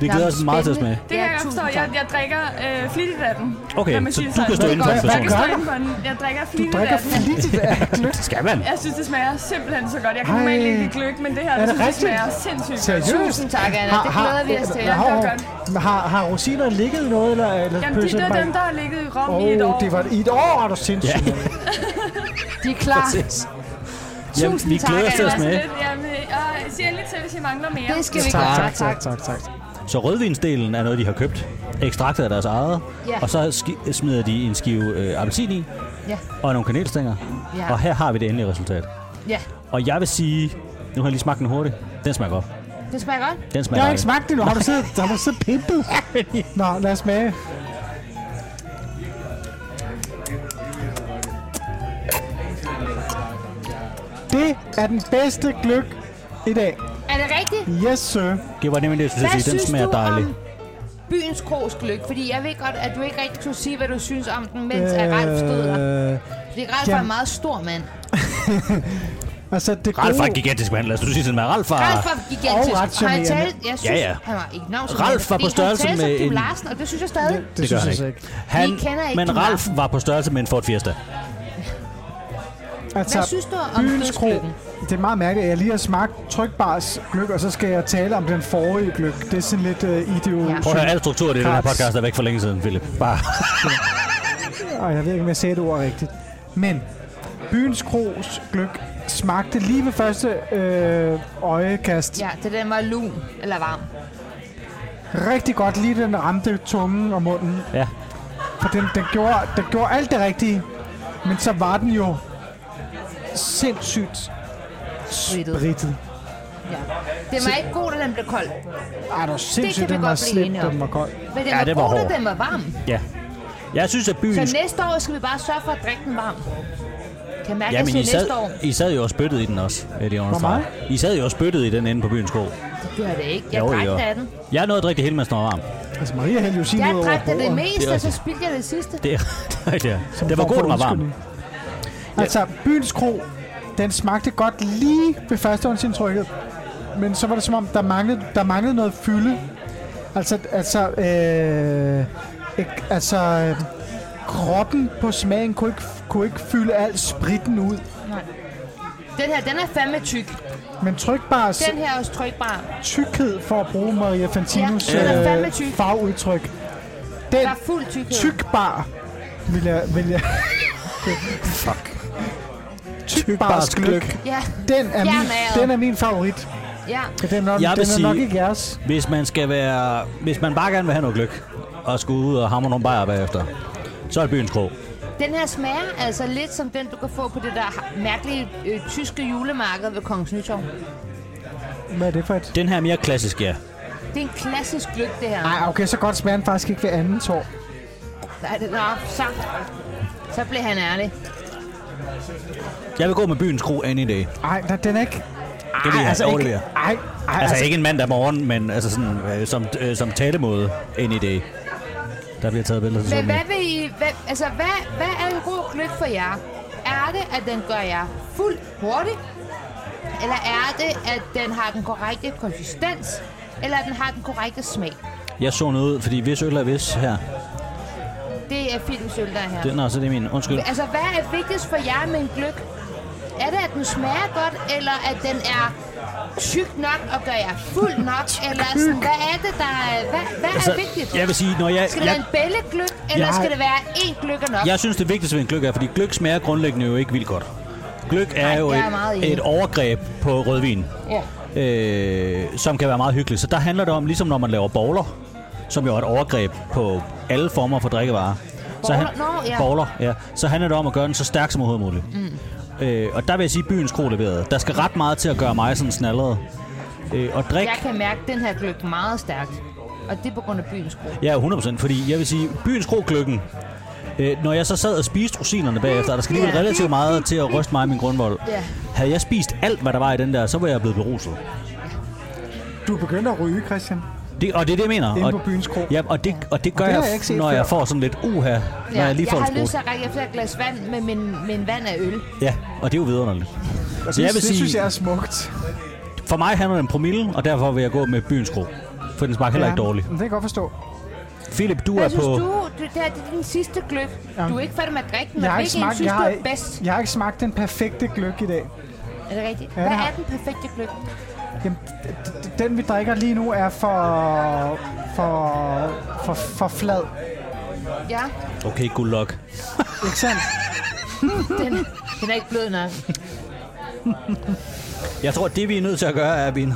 Vi glæder os meget til at smage. Det kan jeg godt forstå. Jeg, jeg drikker øh, flittigt af den. Okay, Lad mig så sige det du kan sådan. stå inden for en Jeg kan person. stå inde for den. Jeg drikker flittigt Drikker af den. flittigt af gløgg. Skal man? Jeg synes, det smager simpelthen så godt. Jeg kan Ej. normalt ikke lide gløgg, men det her, Er det det synes, jeg rigtigt? smager sindssygt godt. Seriøst? Tusind tak, Anna. Det glæder vi os til. Har, Det er har, har, har rosiner ligget i noget, eller, eller Jamen, de der dem, der har ligget i rom Åh, i et år. oh, det var i et år, er du sindssygt. Ja. De er klar. Jamen, vi tak, glæder os til at Altså smage. lidt, jamen, øh, sig endelig til, hvis I mangler mere. Det skal vi Tak, gøre. tak, tak, tak, tak. Så rødvinsdelen er noget, de har købt. Ekstraktet af deres eget. Ja. Og så ski- smider de en skive øh, appelsin i. Ja. Og nogle kanelstænger. Ja. Og her har vi det endelige resultat. Ja, Og jeg vil sige... Nu har jeg lige smagt den hurtigt. Den smager godt. det smager godt. Den smager Jeg har ikke dejligt. smagt det nu. Har du siddet, har du siddet pimpet? Nå, lad os smage. Det er den bedste gløk i dag. Er det rigtigt? Yes, sir. Det var nemlig det, jeg skulle til Hvad at sige. Den synes smager du dejligt. om byens krogs gløk? Fordi jeg ved godt, at du ikke rigtig kunne sige, hvad du synes om den, mens øh... Ralf stod her. Øh, Fordi Ralf ja. er en meget stor mand. altså, det gode... Ralf er en gigantisk mand. Lad os nu sige til med Ralf er... Ralf var gigantisk. Og ret og han charmerende. talte, jeg synes, Ah. Ja, ja. han var ikke navn Ralf var på størrelse han talte med som Kim en- Larsen, og det synes jeg stadig. Det, det gør synes han jeg så ikke. Han, Vi kender ikke men Kim Ralf Larsen. var på størrelse med en Ford Fiesta. Altså, Hvad synes du om byens kro, dødsgløggen? det er meget mærkeligt, at jeg lige har smagt trykbars gløk, og så skal jeg tale om den forrige gløk. Det er sådan lidt uh, idiot. Ja. Prøv at høre, al struktur i den her Kras. podcast er væk for længe siden, Philip. Bare. Og jeg ved ikke, om jeg sagde det ord rigtigt. Men byens kros gløk smagte lige ved første øh, øjekast ja. Ja, det den var lun eller varm. rigtig godt, lige da den ramte tungen og munden. Ja. For den, den, gjorde, den gjorde alt det rigtige, men så var den jo sindssygt Sprittet. sprittet. Ja. Den var ikke god, da den blev kold. Ej, det var sindssygt, vi den godt var blive slem, enige om. den var kold. Men den Ja, var, den var god, hård. da den var varm. ja. Jeg synes, at Så byen... næste år skal vi bare sørge for at drikke den varm. Kan jeg mærke, Ja, at men jeg I siger sad, næste år? I sad jo og spyttede i den også, vil jeg understrege. I sad jo og spyttede i den inde på byens sko. Det gør det ikke. Jeg Jo, drak jo. den af den. Jeg nåede at drikke det hele, mens den var varm. Altså, Maria hældte jo sin Jeg ud over drak da det bordet. meste, Det er og så spildte jeg det sidste. Det er ja. Som Det var form god, for den var varm. undskyldning. Altså, byens kro, den smagte godt lige ved førstehåndsindtrykket. Men så var det som om, der manglede, der manglede noget fylde. Altså, altså, øh, ikke, altså, øh, kroppen på smagen kunne ikke, kunne ikke fylde al spritten ud. Den her, den er fandme tyk. Men trykbars Den her er også trykbar. tykhed, for at bruge Maria Fantinos Ja, den er ja, fandme øh, tyk. fagudtryk, den Der er fuld tykhed. tykbar, vil jeg... Vil jeg Fuck. Tykbars gløk. Ja, Den er, Fjern min, æret. den er min favorit. ja. Den er, nok, Jeg den vil er nok sige- ikke jeres. Hvis man skal være... Hvis man bare gerne vil have noget gløk, og skulle ud og hamre nogle bajer bagefter, så er det byens krog. Den her smager altså lidt som den, du kan få på det der mærkelige øh, tyske julemarked ved Kongens Nytorv. Hvad er det for et? Den her er mere klassisk, ja. Det er en klassisk gløk, det her. Nej, okay, så godt smager den faktisk ikke ved anden tår. Nej, det, nå, så, så blev han ærlig. Jeg vil gå med byens kro any day. Ej, nej, den er ikke... Det vil Ej, jeg altså ikke... overlevere. Ej, ej, Altså, altså, altså ikke en mandag morgen, men altså sådan, øh, som, øh, som talemåde ind i dag. Der bliver taget billeder til Men sådan hvad en. vil I... Hvad, altså, hvad, hvad er en god gløk for jer? Er det, at den gør jer fuld hurtigt? Eller er det, at den har den korrekte konsistens? Eller at den har den korrekte smag? Jeg så noget ud, fordi hvis øl er vis her, Det er filmsøl, der er her. Det, nå, så det er min. Undskyld. Altså, hvad er vigtigst for jer med en gløk? Er det, at den smager godt, eller at den er tyk nok og gør jer fuld nok? Eller sådan, hvad er det, der er, hvad, hvad Altså, er vigtigt? jeg vil sige, når jeg... Skal det jeg være en bællegløk, eller Jeg- skal det være én gløk og nok? Jeg synes, det vigtigste ved en gløk er, fordi gløk smager grundlæggende jo ikke vildt godt. Gløk er Nej, jo jeg er meget et, enig. et overgreb på rødvin, Ja. øh, som kan være meget hyggeligt. Så der handler det om, ligesom når man laver bowler, som jo er et overgreb på alle former for drikkevarer. Så Bowler? Nå, ja. bowler, ja. Så handler det om at gøre den så stærk som overhovedet muligt. Mm. Øh, og der vil jeg sige, at byens kro leverede. Der skal ret meget til at gøre mig sådan snallerede. Øh, og drik... Jeg kan mærke den her gløk meget stærkt. Og det er på grund af byens gro. Ja, 100%, fordi jeg vil sige, byens krogløkken, øh, når jeg så sad og spiste rosinerne bagefter, og der skal lige Ja. relativt meget til at ryste mig i min grundvold. Ja. Havde jeg spist alt, hvad der var i den der, så var jeg blevet beruset. Du er begyndt at ryge, Christian. Det, og det er det, jeg mener. Inde og, på byens kro. Ja, og det, og det gør det har jeg, jeg ikke set når før. jeg får sådan lidt uha, ja. når jeg lige får jeg en har lyst sprut. til at række efter et glas vand, men min, min vand er øl. Ja, og det er jo vidunderligt. Og Så jeg vil det synes sige, jeg er smukt. for mig handler det om promille, og derfor vil jeg gå med byens kro. For den smager heller ikke dårligt. men Det kan jeg godt forstå. Philip, du er Hvad på... synes du? du det, her, det er din sidste gløk. Du er ikke færdig med at drikke den, Jeg og har, ikke hvilken en smagt, synes jeg, du har, er bedst? jeg har ikke smagt den perfekte gløk i dag. Er det rigtigt? det Hvad har- er den perfekte gløk? Jamen, d- d- d- den vi drikker lige nu er for, for, for, for flad. Ja, Okay, good luck. Ikke sandt? den, den er ikke blød nok. Jeg tror, det vi er nødt til at gøre, er at vi...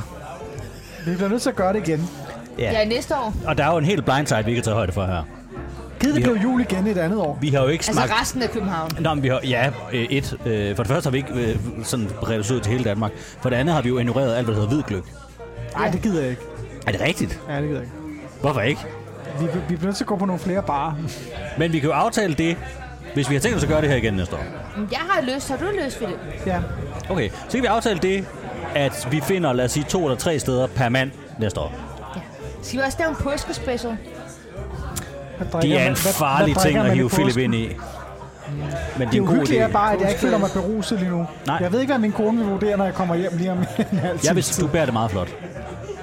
Vi bliver nødt til at gøre det igen. Ja, næste år. Og der er jo en helt blindside, vi ikke har taget højde for her. Giv det Ja. blev jul igen et andet år. Vi har jo ikke Altså smagt... resten af København. Nå, men vi har, ja, øh, et. Øh, for det første har vi ikke øh, sådan bredt os ud til hele Danmark. For det andet har vi jo ignoreret alt, hvad der hedder hvidgløk. Nej, det gider jeg ikke. Er det rigtigt? Ja, det gider jeg ikke. Hvorfor ikke? Vi, vi bliver nødt til at gå på nogle flere barer. Men vi kan jo aftale det, hvis vi har tænkt os at gøre det her igen næste år. Men Jeg har lyst. Har du lyst, Philip? Ja. Okay, så kan vi aftale det, at vi finder, lad os sige, to eller tre steder per mand næste år. Ja. Skal vi også lave en påskespecial? Hvad drikker Det er man- en hvad- hvad farlig ting drikker at man i hive Philip påsken? ind i. Men det Det er en god uhyggelige er idé. bare, at jeg ikke føler mig beruset lige nu. Nej. Jeg ved ikke, hvad min kone vil vurdere, når jeg kommer hjem lige om en halv Jeg time. vil sige, du bærer det meget flot.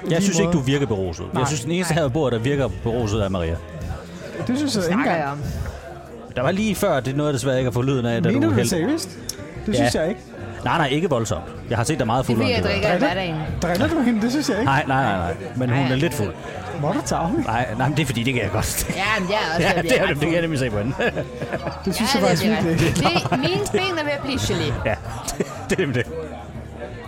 Jeg synes ikke, måde. du virker beruset. Jeg synes, den eneste her på bordet, der virker beruset, er Maria. Det synes jeg Snakker ikke engang. jeg om. Der var lige før, det er noget, desværre ikke at få lyden af, da Mener du du det hældte. seriøst? Det Ja. synes jeg ikke. Nej, nej, ikke voldsomt. Jeg har set dig meget Det fuld. vil under jeg det der. drikke i Drikker? hverdagen. Driller du hende? Det synes jeg ikke. Nej, nej, nej, nej. Men hun Nej. er lidt fuld. Må du tage af? Nej, nej, men det er fordi, det kan jeg godt. Ja, men jeg er også ja, ved at det, blive er, ret det kan jeg nemlig se på hende. Det synes Ja, jeg faktisk det er virkelig ikke. rigtigt. Det, mine ben er ved at blive gelé. ja, det, det er nemlig det.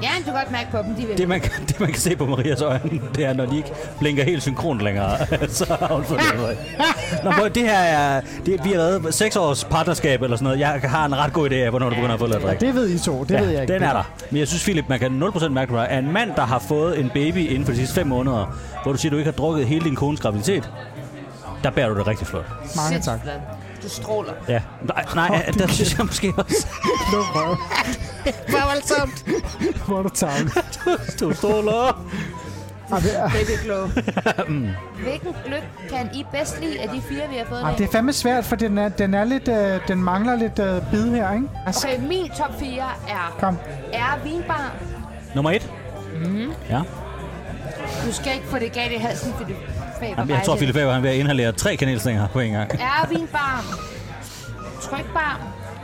Ja, du kan godt mærke på dem, de vil. Det man, kan- det, man kan se på Marias øjne, det er, når de ikke blinker helt synkront længere, så har hun fået det ud af. Nå, prøv, det her er, det, vi har lavet seks års partnerskab eller sådan noget. Jeg har en ret god idé af, hvornår du begynder at få lidt at drikke. Det ved I to, det ved jeg ikke. den er der. Men jeg synes, Philip, man kan 0% mærke på dig, at en mand, der har fået en baby inden for de sidste 5 måneder, hvor du siger, du ikke har drukket hele din kones graviditet, der bærer du det rigtig flot. Mange tak. Sindssygt flot. Du stråler. Ja. Nej, nej der synes jeg måske også, Luk røven. Hvor voldsomt. Må du tage af? du stråler. Ej, det er- Baby glow. Hvilken gløk kan I bedst lide af de fire, vi har fået i ej, dag? Ah, det er fandme svært, for den, er, den, er lidt, øh, den mangler lidt øh, bid her, ikke? Altså, Okay, min top 4 er kom. er vinbar. Nummer et. Mhm. Mm. Ja. Du skal ikke få det galt i halsen, fordi du faber Jamen, jeg tror, vejle. Philip Faber, han er ved at inhalere tre kanelstænger på en gang. Er vinbar. Trykbar.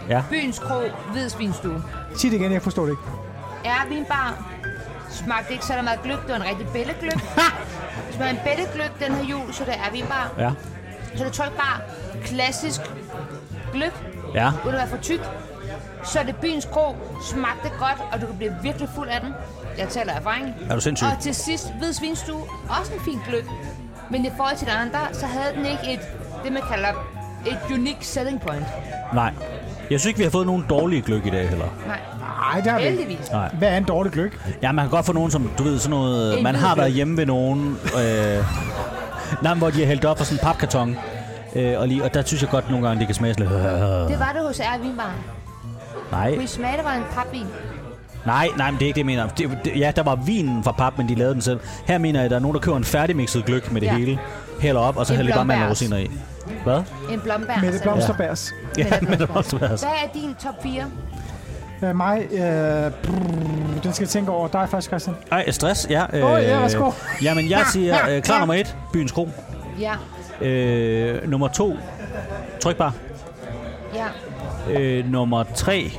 Ja. Byens Kro. Hvidsvinstue. Sig det igen, jeg forstår det ikke. Er vinbar. Smagte ikke så meget gløk. Det var en rigtig bællegløk. Smagte en bællegløk den her jul, så det er vinbar. Ja. Så det er trykbar. Klassisk gløk. Ja. Uden at være for tyk. Så er det byens kro. Smagte godt, og du kan blive virkelig fuld af den. Jeg taler af erfaring. Er du sindssyg? Og til sidst, Hvid Svinstue, også en fin gløk. Men i forhold til de andre, så havde den ikke et, det man kalder et unique selling point. Nej. Jeg synes ikke, vi har fået nogen dårlige gløk i dag heller. Nej, Nej, det har vi ikke. heldigvis. Nej. Hvad er en dårlig gløk? Ja, man kan godt få nogen, som, du ved, sådan noget... En Man hvid har gløgg. været hjemme ved nogen, øh, nej, men hvor de har hældt op for sådan en papkarton. Øh, og, lige, og der synes jeg godt nogle gange, det kan smage lidt. Øh, Det var det hos R. Vinbar. nej, Kunne I smage, det var en papvin? nej, nej, men det er ikke det, jeg mener. Det, det, ja, der var vinen fra pap, men de lavede den selv. Her mener jeg, at der er nogen, der køber en færdigmixet gløk med det Ja. hele. Hælder op, og så En hælder de bare mand og blåbærs. rosiner i. Hvad? En blomberg. Mette altså. Blomsterbærs. Ja, men Mette det var også været. Hvad er din top 4? Øh, mig, øh, brrr, den skal jeg tænke over. Dig først, Christian. Ej, stress, ja. Øh, Åh, ja, værsgo. Jamen, jeg siger øh, klar nummer et, Byens Kro. Ja. Øh, nummer to, Trykbar. Ja. Øh, nummer 3.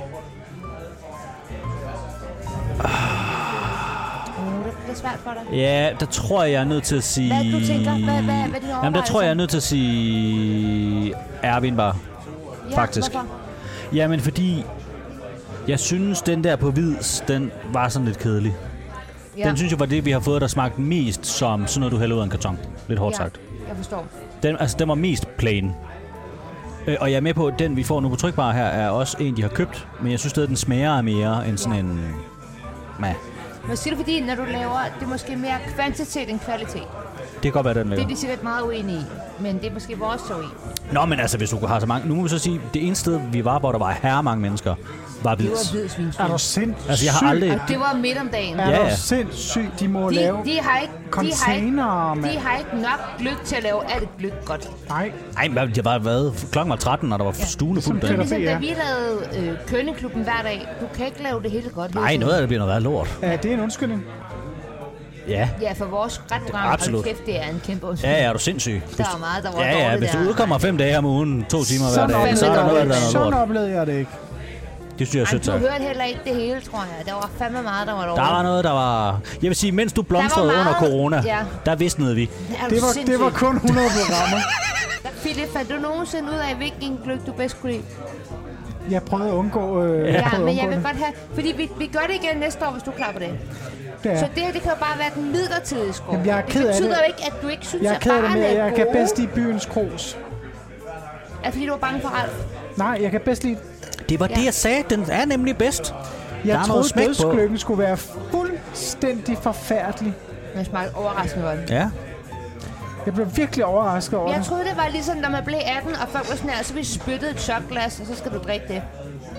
Uh, det er svært for dig. Ja, der tror jeg, jeg er nødt til at sige... Hvad du tænker? Hvad- hvad- hvad er dine Jamen, der overvejelser? tror jeg, jeg er nødt til at sige... Erwin bare. Ja, Faktisk. Hvorfor? Jamen, fordi... Jeg synes, den der på hvids, den var sådan lidt kedelig. Ja. Ja. Den synes jeg var det, vi har fået, der smagte mest som sådan noget, du hælder ud af en karton. Lidt hårdt ja. sagt. Jeg forstår. Den, altså, den var mest plain. Øh, og jeg er med på, at den, vi får nu på trykbar her, er også en, de har købt. Men jeg synes stadig, den smager af mere end sådan en... Mæh. Måske er det fordi, når du laver, det er måske mere kvantitet end kvalitet. Det kan godt være, den Det laver. er de sikkert meget uenige i, men det er måske vores teori. Nå, men altså, hvis du har så mange... Nu må vi så sige, det eneste sted, vi var, hvor der var herre mange mennesker, var Det var Hvids. hvid svinsfilm. Er du sindssyg? Altså, jeg har aldrig... Og det var midt om dagen. Er Ja, du ja. sindssyg? De må De, lave de, har ikke, de, har ikke, containere, de mand. har ikke nok gløk til at lave alt gløk godt. Nej. Ej, men det var hvad? Klokken var 13, og der var stuende fuldt Det er Peter ligesom, derinde. B, ja. da vi lavede øh, Kønneklubben hver dag. Du kan ikke lave det hele godt. Nej, Løse. noget af det bliver noget værre lort. Er det en undskyldning? Ja. Ja, for vores retprogram, Absolut. Absolut. kæft, det er en kæmpe undskyld. Ja, ja, er du sindssyg? Hvis Der var du- meget, der var Ja, ja, dårligt hvis du der. udkommer fem dage om ugen, to timer hver dag, så er der oplevede jeg noget, der det. er noget sådan lort. oplevede jeg det ikke. Det synes jeg er Ej, sødt du sagt. hørte heller ikke det hele, tror jeg. Der var fandme meget, der var dårligt. Der var noget, der var... Jeg vil sige, mens du blomstrede Der var under meget- corona, Ja. der visnede vi. Er du Det var, det sindssyg? var kun 100 programmer. Philip, fandt du nogensinde ud af, hvilken gløk du bedst kunne lide? Jeg prøvede at undgå, øh, jeg Ja, prøvede men at jeg undgå vil det. godt have... Fordi vi, vi gør det igen næste år, hvis du er klar på det. Ja. Så det her, det kan jo bare være den midlertidige skov. Jamen, jeg er ked det af betyder det. jo ikke, at du ikke synes, Jeg er at ked af det, men barerne er jeg kan gode. bedst lide byens kros. Er fordi du var bange for Ralf? Nej, jeg kan bedst lide... Det var Ja. det, jeg sagde. Den er nemlig bedst. Der er Jeg noget smæk troede, på. dødslykken skulle være fuldstændig forfærdelig. Den smagte overraskende godt. Ja. Jeg blev virkelig overrasket over Jeg det. troede, det var ligesom, når man blev 18, og folk var sådan her, så vi spyttede et shotglas, og så skal du drikke det.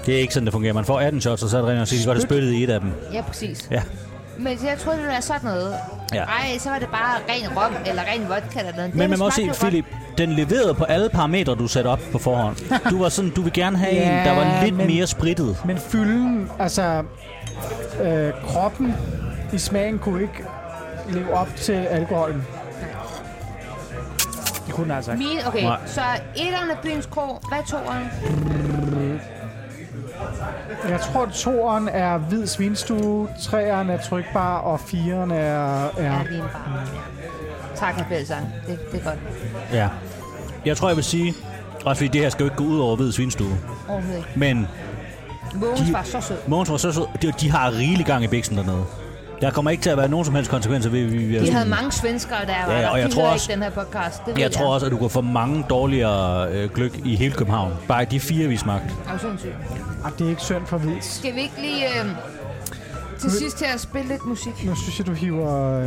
Det er ikke sådan, det fungerer. Man får 18 shots, og så er det rent nok sikkert godt at spytte i et af dem. Ja, præcis. Ja. Men jeg troede, det var sådan noget. Ja. Nej, så var det bare ren rom, eller ren vodka eller noget. Men Det man må også smagte sige, jo Philip, den leverede på alle parametre, du satte op på forhånd. Du var sådan, du vil gerne have en, der var Ja, lidt men- mere sprittet. Men fylden, altså... Øh, kroppen i smagen kunne ikke leve op til alkoholen. Det kunne den altså godt. ikke. Mine, okay, Nej. så etteren af byens kro, hvad toeren? Jeg tror, toeren er hvid svinstue, treeren er trykbar, og fireeren er... Ja, er vi er en bar. Ja. Tak, hr. Fællesang. Det, det er godt. Ja. Jeg tror, jeg vil sige, også fordi det her skal jo ikke gå ud over ved svinstue, Overhovedet ikke. men Mogens De- var så sød. Mogens var så sød. De, de har rigelig gang i biksen dernede. Der kommer ikke til at være nogen som helst konsekvenser ved, at vi, vi er Vi sådan- havde mange svenskere, der var Øhm. Ja, der. og jeg De tror hører også- ikke den her podcast. Det ved Jeg tror også, at du kan få mange dårligere øh, gløk i hele København. Bare i de fire, vi smagte. Jeg er jo sindssyg. Ej, Ah, det er ikke synd for hvids. Skal vi ikke lige øh, til sidst her spille lidt musik? Nu synes jeg, du hiver... Øh,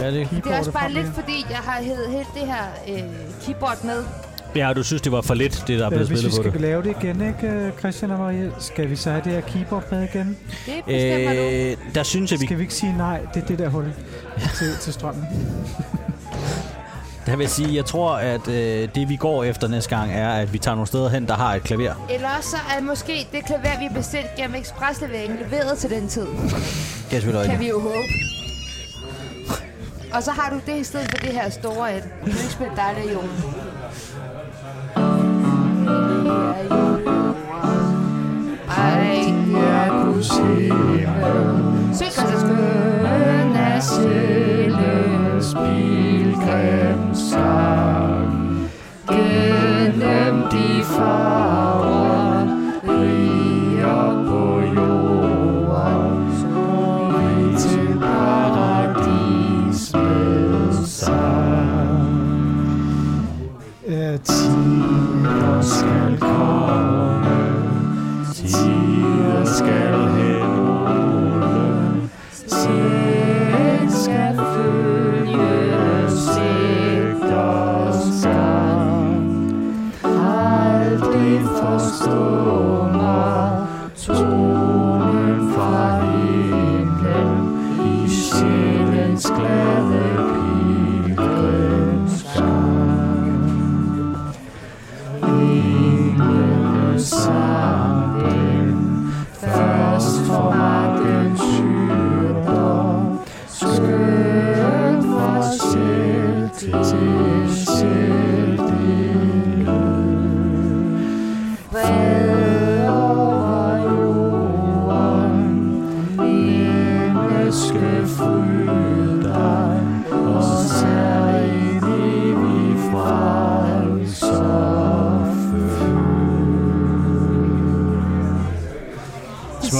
Ja, det... Det er også bare lidt, fordi jeg har hævet helt det her øh, keyboard med. Ja, og du synes, det var for lidt, det der er Ja, blevet hvis vi spillet på skal det. lave det igen, ikke, Christian og Marie? Skal vi så have det her keyboard med igen? Det bestemmer du. Øh, der synes jeg, vi... Skal vi ikke sige nej? Det er det der hul til, til strømmen. Der vil jeg sige, jeg tror, at øh, det vi går efter næste gang, er, at vi tager nogle steder hen, der har et klaver. Eller også så er måske det klaver, vi bestilte gennem ekspresleveringen, leveret til den tid. Det er selvfølgelig Kan rigtigt. vi jo håbe. Og så har du det i stedet for det her store et. Kan du ikke spille dig der, Jon? Ej, jeg kunne se Søg os at skønne sjæles pilgrimsang Gennem de farver riger på jorden Så vi til paradis med sang Øh, ti- Tider skal komme Tider skal hen Sæt skal følge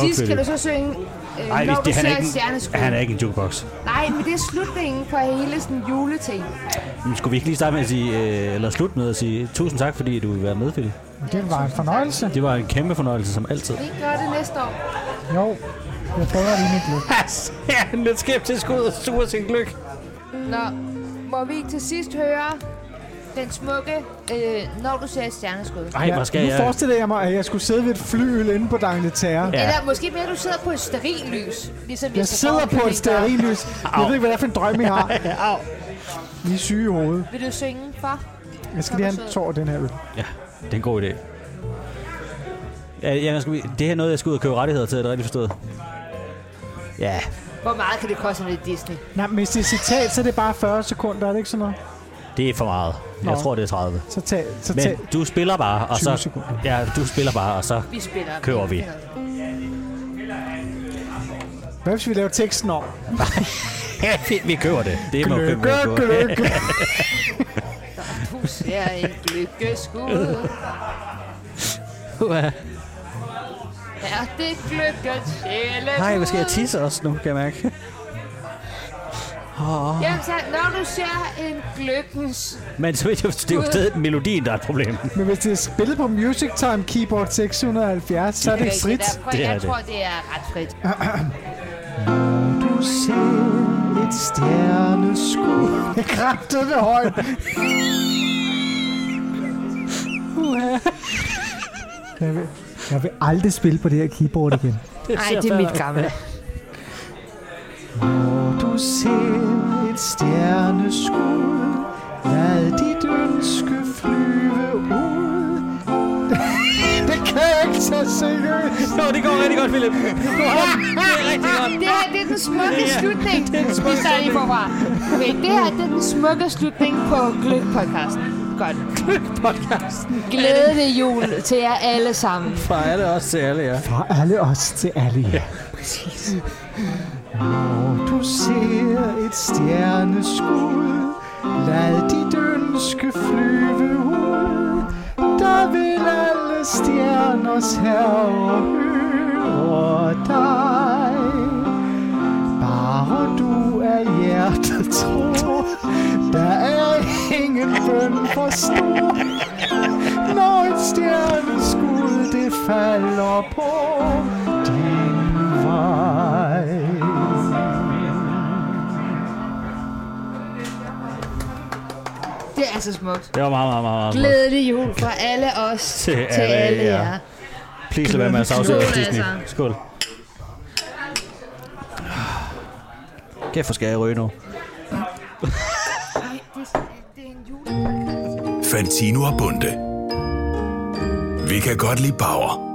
sidst kan du så synge, øh, Ej, når det, du det, han, ser er ikke... ikke, han er ikke en jukebox. Nej, men det er slutningen på hele sådan juleting. Men skulle vi ikke lige starte med at sige, øh, eller slutte med at sige, tusind tak, fordi du vil være med, Philip. Det var en fornøjelse. Det var en kæmpe fornøjelse, som altid. Vi gør det næste år. Jo, jeg prøver lige mit gløk. Ja, han lidt skeptisk ud og sur sin gløk. Nå, må vi ikke til sidst høre den smukke, øh, når du ser et stjerneskud? Ej, hvor skal nu jeg... forestiller jeg mig, at jeg skulle sidde ved et flyøl inde på Dangleterre. Ja. Ja. Eller måske mere, at du sidder på et steril lys. Ligesom Jeg Jesper sidder Borg på et kan gøre. stearinlys. Jeg ved ikke, hvad det er for en drøm, I har. I er syge i hovedet. Vil du synge for? Jeg skal lige have en tår af den her øl. Det er en god idé. Ja, ja, skal vi... Det her er noget, jeg skal ud og købe rettigheder til, er det rigtigt forstået? Ja, Hvor meget kan det koste med Disney? Nej, men hvis det er citat, så er det bare 40 sekunder, er det ikke sådan noget? det er for meget. Jeg Nå. tror, det er 30. Så tag, så tag. Men du spiller bare, og 20 så... sekunder. Ja, du spiller bare, og så... Vi spiller. Kører vi. Hvad hvis vi laver teksten om? Ja, vi, vi køber det. Det må Gløk, købe. vi køber. gløk, gløk. Du ser et lykkeskud. Uha. Er det gløgget sjælen? Nej, hvad skal jeg tisse også nu, kan jeg mærke? Jamen, så, når du ser en gløggens... Men så ved jeg, det er jo stadig melodien, der er et problem. Men hvis det er spillet på Music Time Keyboard 670, så er det frit. Det Det er jeg det. tror, det er ret frit. Du ser et stjerneskud. Det er kraftedeme højt. Uha. jeg, vil, jeg vil aldrig spille på det her keyboard igen. Nej, det er mit gamle. Du ser et stjerneskud. Lad dit ønske flyve ud. det kan jeg ikke tage seriøst. Nå, det går rigtig godt, Philip. Det her det er den smukke slutning, vi står i forfra. Okay, det her det er den smukke slutning på Gløk-podcasten. Godt. Gløk-podcasten. Glædelig jul til jer alle sammen. Fra er det også til alle, ja. Fra alle os til alle jer. Ja, Når du ser et stjerneskud, lad dit ønske flyve ud. Der vil alle stjerners herre høre dig. Bare du er hjertet tro, der er ingen bøn for stor. Når et stjerneskud det falder på din vej. Det er altså smukt. Det var meget, meget, meget, meget. smukt. Glædelig jul fra alle os til, til alle alle jer. jer. Please lad være med at savse Skål, Disney. altså. Skål. Kæft, hvor skal jeg ryge nu. Ej, det, det er en jule. Fantino og Bunde. Vi kan godt lide Bauer.